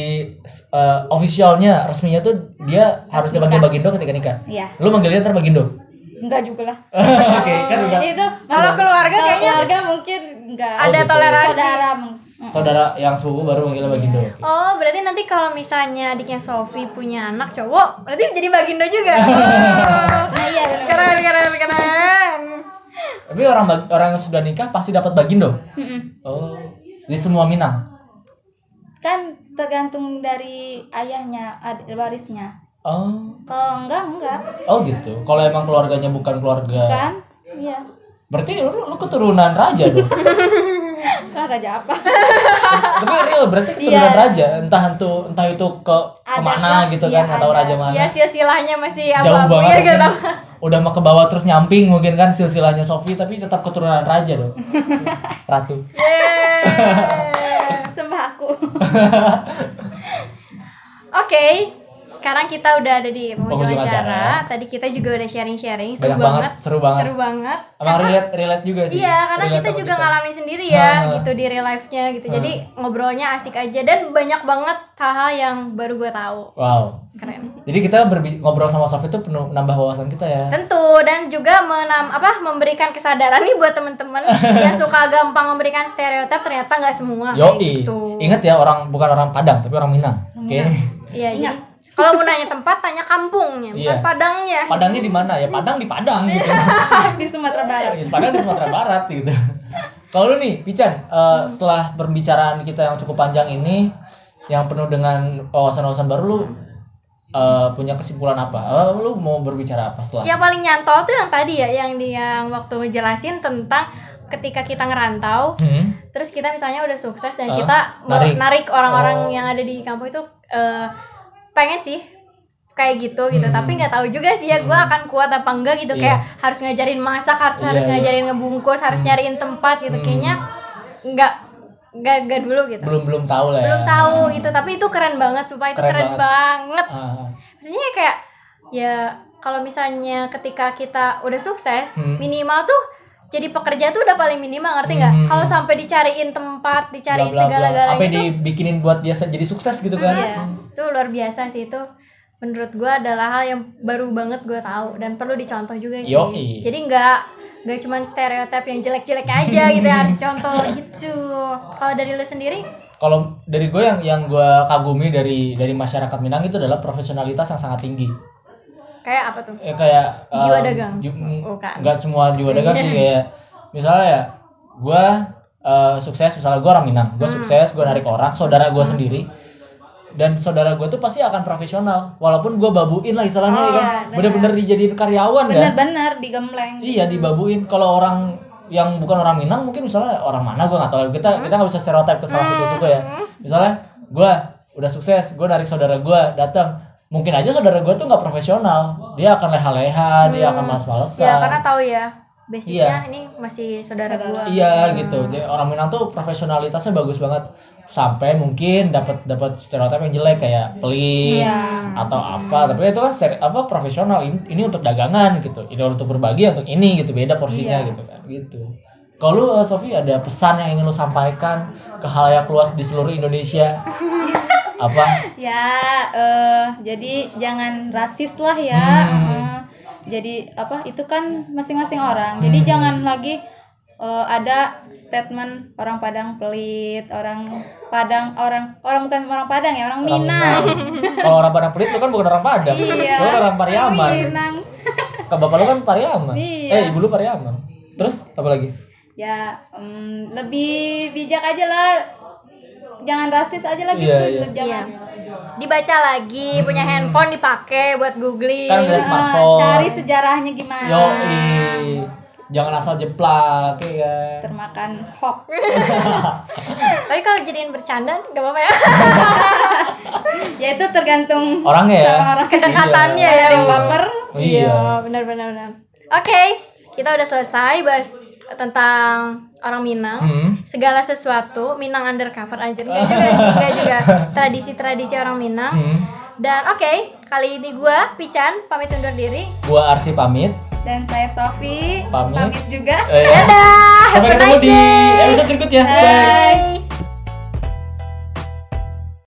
Speaker 1: s- eh, officialnya resminya tuh dia harus dipanggil Bagindo ketika nikah.
Speaker 3: iya
Speaker 1: Lu manggilnya ntar Bagindo.
Speaker 3: enggak juga lah
Speaker 1: Oke, kan udah.
Speaker 3: itu
Speaker 2: Kalau keluarga
Speaker 3: kalau
Speaker 2: kayaknya
Speaker 3: keluarga mungkin enggak
Speaker 2: ada
Speaker 1: gitu.
Speaker 2: toleransi.
Speaker 3: saudara mungkin
Speaker 1: saudara yang sepupu baru manggilnya Bagindo.
Speaker 3: Iya.
Speaker 2: Oh, berarti nanti kalau misalnya adiknya Sofi punya anak cowok, berarti jadi Bagindo juga.
Speaker 1: Iya,
Speaker 3: Nah, iya bener.
Speaker 2: keren, keren, keren.
Speaker 1: Tapi orang Bag- orang yang sudah nikah pasti dapat Bagindo.
Speaker 3: Mm-mm.
Speaker 1: Oh, di semua Minang.
Speaker 3: Kan tergantung dari ayahnya, ad- warisnya.
Speaker 1: Oh,
Speaker 3: Kalau enggak enggak,
Speaker 1: oh gitu. Kalau emang keluarganya bukan keluarga,
Speaker 3: kan? Iya.
Speaker 1: berarti lu, lu keturunan raja dong.
Speaker 3: Kan raja apa?
Speaker 1: Tapi real berarti
Speaker 2: Iya.
Speaker 1: keturunan raja, entah itu entah itu ke kemana gitu kan,
Speaker 3: iya,
Speaker 1: nggak tahu
Speaker 3: ada.
Speaker 1: raja mana.
Speaker 2: Ya silsilahnya masih
Speaker 1: Jauh
Speaker 2: apa-apa
Speaker 1: banget
Speaker 2: ya
Speaker 1: mungkin.
Speaker 2: gitu.
Speaker 1: udah mau ke bawah terus nyamping mungkin kan silsilahnya Sofi tapi tetap keturunan raja dong. Ratu.
Speaker 2: Yeay.
Speaker 3: Sembah aku.
Speaker 2: Oke, sekarang kita udah ada di penghujung
Speaker 1: Oh, Penghujung
Speaker 2: acara.
Speaker 1: acara. ya.
Speaker 2: Tadi kita juga udah sharing-sharing, seru
Speaker 1: Banyak
Speaker 2: banget,
Speaker 1: banget, seru banget.
Speaker 2: seru banget.
Speaker 1: Emang relate relate juga sih.
Speaker 2: Iya, karena
Speaker 1: Relate
Speaker 2: kita
Speaker 1: sama
Speaker 2: juga ngalamin sendiri ya,
Speaker 1: Ha.
Speaker 2: gitu di real life-nya gitu. Jadi
Speaker 1: Ah.
Speaker 2: ngobrolnya asik aja dan banyak banget hal-hal yang baru gue tahu.
Speaker 1: Wow.
Speaker 2: Keren.
Speaker 1: Jadi kita berbi- ngobrol sama Sofi itu penuh nambah wawasan kita ya.
Speaker 2: Tentu dan juga menam apa memberikan kesadaran nih buat temen-temen yang suka gampang memberikan stereotip ternyata nggak semua kayak
Speaker 1: Yoi.
Speaker 2: gitu.
Speaker 1: Ingat ya orang bukan orang Padang tapi orang Minang. Oke.
Speaker 2: Iya, jadi kalau mau nanya tempat tanya kampungnya, bukan
Speaker 1: Iya.
Speaker 2: padangnya.
Speaker 1: Padangnya di mana ya? Padang di Padang gitu.
Speaker 3: Di Sumatera Barat.
Speaker 1: Ya, Padang di Sumatera Barat gitu. Kalau lu nih, Pican, eh,
Speaker 2: Hmm.
Speaker 1: setelah pembicaraan kita yang cukup panjang ini yang penuh dengan wawasan-wawasan baru lu eh, punya kesimpulan apa? Eh, lu mau berbicara apa setelah?
Speaker 2: Yang paling nyantol tuh yang tadi ya, yang di- yang waktu jelasin tentang ketika kita ngerantau,
Speaker 1: Hmm?
Speaker 2: terus kita misalnya udah sukses dan
Speaker 1: Ah,
Speaker 2: kita mau
Speaker 1: narik.
Speaker 2: narik
Speaker 1: Oh.
Speaker 2: orang-orang yang ada di kampung itu eh, pengen sih kayak gitu gitu tapi nggak tahu juga sih ya gua akan kuat apa enggak
Speaker 1: Hmm.
Speaker 2: gitu
Speaker 1: Iya.
Speaker 2: kayak harus ngajarin masak harus
Speaker 1: Iya, iya.
Speaker 2: harus
Speaker 1: Hmm.
Speaker 2: ngajarin ngebungkus harus nyariin tempat gitu kayaknya nggak nggak nggak dulu gitu
Speaker 1: Belum belum tahu lah ya.
Speaker 2: belum tahu gitu tapi itu keren banget sumpah itu
Speaker 1: Keren
Speaker 2: keren
Speaker 1: banget.
Speaker 2: banget
Speaker 1: Ah,
Speaker 2: maksudnya kayak ya kalau misalnya ketika kita udah sukses
Speaker 1: Hmm.
Speaker 2: minimal tuh jadi pekerja tuh udah paling minimal ngerti nggak
Speaker 1: Hmm.
Speaker 2: kalau sampai dicariin tempat dicariin
Speaker 1: bla, bla, bla. Apa
Speaker 2: segala-galanya
Speaker 1: yang
Speaker 2: tuh
Speaker 1: dibikinin buat dia se- jadi sukses gitu kan?
Speaker 2: iya, itu luar biasa sih itu menurut gua adalah hal yang baru banget gua tahu dan perlu dicontoh juga sih
Speaker 1: Yoi.
Speaker 2: jadi nggak nggak cuman stereotip yang jelek-jelek aja gitu ya, harus contoh gitu kalau dari lu sendiri
Speaker 1: Kalau dari gue yang yang gue kagumi dari dari masyarakat Minang itu adalah profesionalitas yang sangat tinggi.
Speaker 2: kayak apa tuh
Speaker 1: ya kayak
Speaker 2: Jiwa
Speaker 1: em,
Speaker 2: dagang?
Speaker 1: ju- mm,
Speaker 2: Bukan.
Speaker 1: nggak semua jiwa dagang sih kayak misalnya ya gue sukses misalnya gue orang Minang gue sukses gue narik orang saudara gue sendiri dan saudara gue tuh pasti akan profesional walaupun gue babuin lah istilahnya
Speaker 3: Oh,
Speaker 1: ya kan
Speaker 3: iya, benar.
Speaker 1: bener-bener dijadiin karyawan kan
Speaker 3: Bener-bener digembleng.
Speaker 1: iya dibabuin kalau orang yang bukan orang Minang mungkin misalnya orang mana gue nggak tahu kita kita nggak bisa stereotip ke salah satu suku ya misalnya gue udah sukses gue narik saudara gue datang mungkin aja saudara gue tuh nggak profesional dia akan leha-leha dia akan malas-malesan
Speaker 2: ya karena tahu ya basicnya ini masih saudara gua
Speaker 1: Iya gitu. Jadi orang Minang tuh profesionalitasnya bagus banget sampai mungkin dapat dapat stereotip yang jelek kayak pelit
Speaker 3: Iya.
Speaker 1: atau apa. Tapi itu kan seri- apa profesional ini, ini untuk dagangan gitu. Ini untuk berbagi untuk ini gitu. Beda porsinya
Speaker 3: Iya.
Speaker 1: gitu kan. Gitu. Kalau lu eh, Sofi ada pesan yang ingin lu sampaikan ke halayak luas di seluruh Indonesia? apa?
Speaker 3: Ya, eh jadi jangan rasis lah ya.
Speaker 1: Hmm.
Speaker 3: Eh, jadi apa itu kan masing-masing orang.
Speaker 1: Hmm.
Speaker 3: Jadi jangan lagi eh, ada statement orang Padang pelit, orang Padang orang orang bukan orang Padang ya, orang
Speaker 1: Orang
Speaker 3: Minang.
Speaker 1: Kalau orang Padang pelit lu kan bukan orang Padang.
Speaker 3: Iya.
Speaker 1: Lu kan orang Pariaman.
Speaker 3: Minang.
Speaker 1: Ke bapak lu kan Pariaman.
Speaker 3: Iya.
Speaker 1: Eh, ibu lu Pariaman. Terus apa lagi?
Speaker 3: Ya, em, lebih bijak aja lah. Jangan rasis aja lah
Speaker 1: Iya,
Speaker 3: gitu.
Speaker 1: iya. Hmm.
Speaker 3: tuh, Jangan.
Speaker 2: dibaca lagi punya handphone dipakai buat googling
Speaker 1: Kan udah
Speaker 3: Ah,
Speaker 1: smartphone.
Speaker 3: cari sejarahnya gimana.
Speaker 1: Yoi. Jangan asal jeplak ya. kan?
Speaker 3: Termakan hoax.
Speaker 2: tapi kalau jadiin bercanda gak apa-apa ya
Speaker 1: Iya.
Speaker 3: ya itu tergantung
Speaker 1: Orangnya ya.
Speaker 3: sama orang
Speaker 2: kedekatannya ya
Speaker 3: ada yang baper
Speaker 1: Iya.
Speaker 2: benar benar benar oke kita udah selesai bahas tentang orang Minang
Speaker 1: Hmm.
Speaker 2: segala sesuatu Minang undercover anjir enggak juga sih, enggak juga tradisi-tradisi orang Minang
Speaker 1: Hmm.
Speaker 2: dan oke kali ini gua Pican pamit undur diri
Speaker 1: Gua Arsi pamit.
Speaker 3: dan saya Sofi
Speaker 1: Pamit.
Speaker 3: juga
Speaker 1: Eh,
Speaker 2: dadah
Speaker 3: Eh.
Speaker 1: sampai ketemu di episode berikutnya. Bye.
Speaker 2: Bye.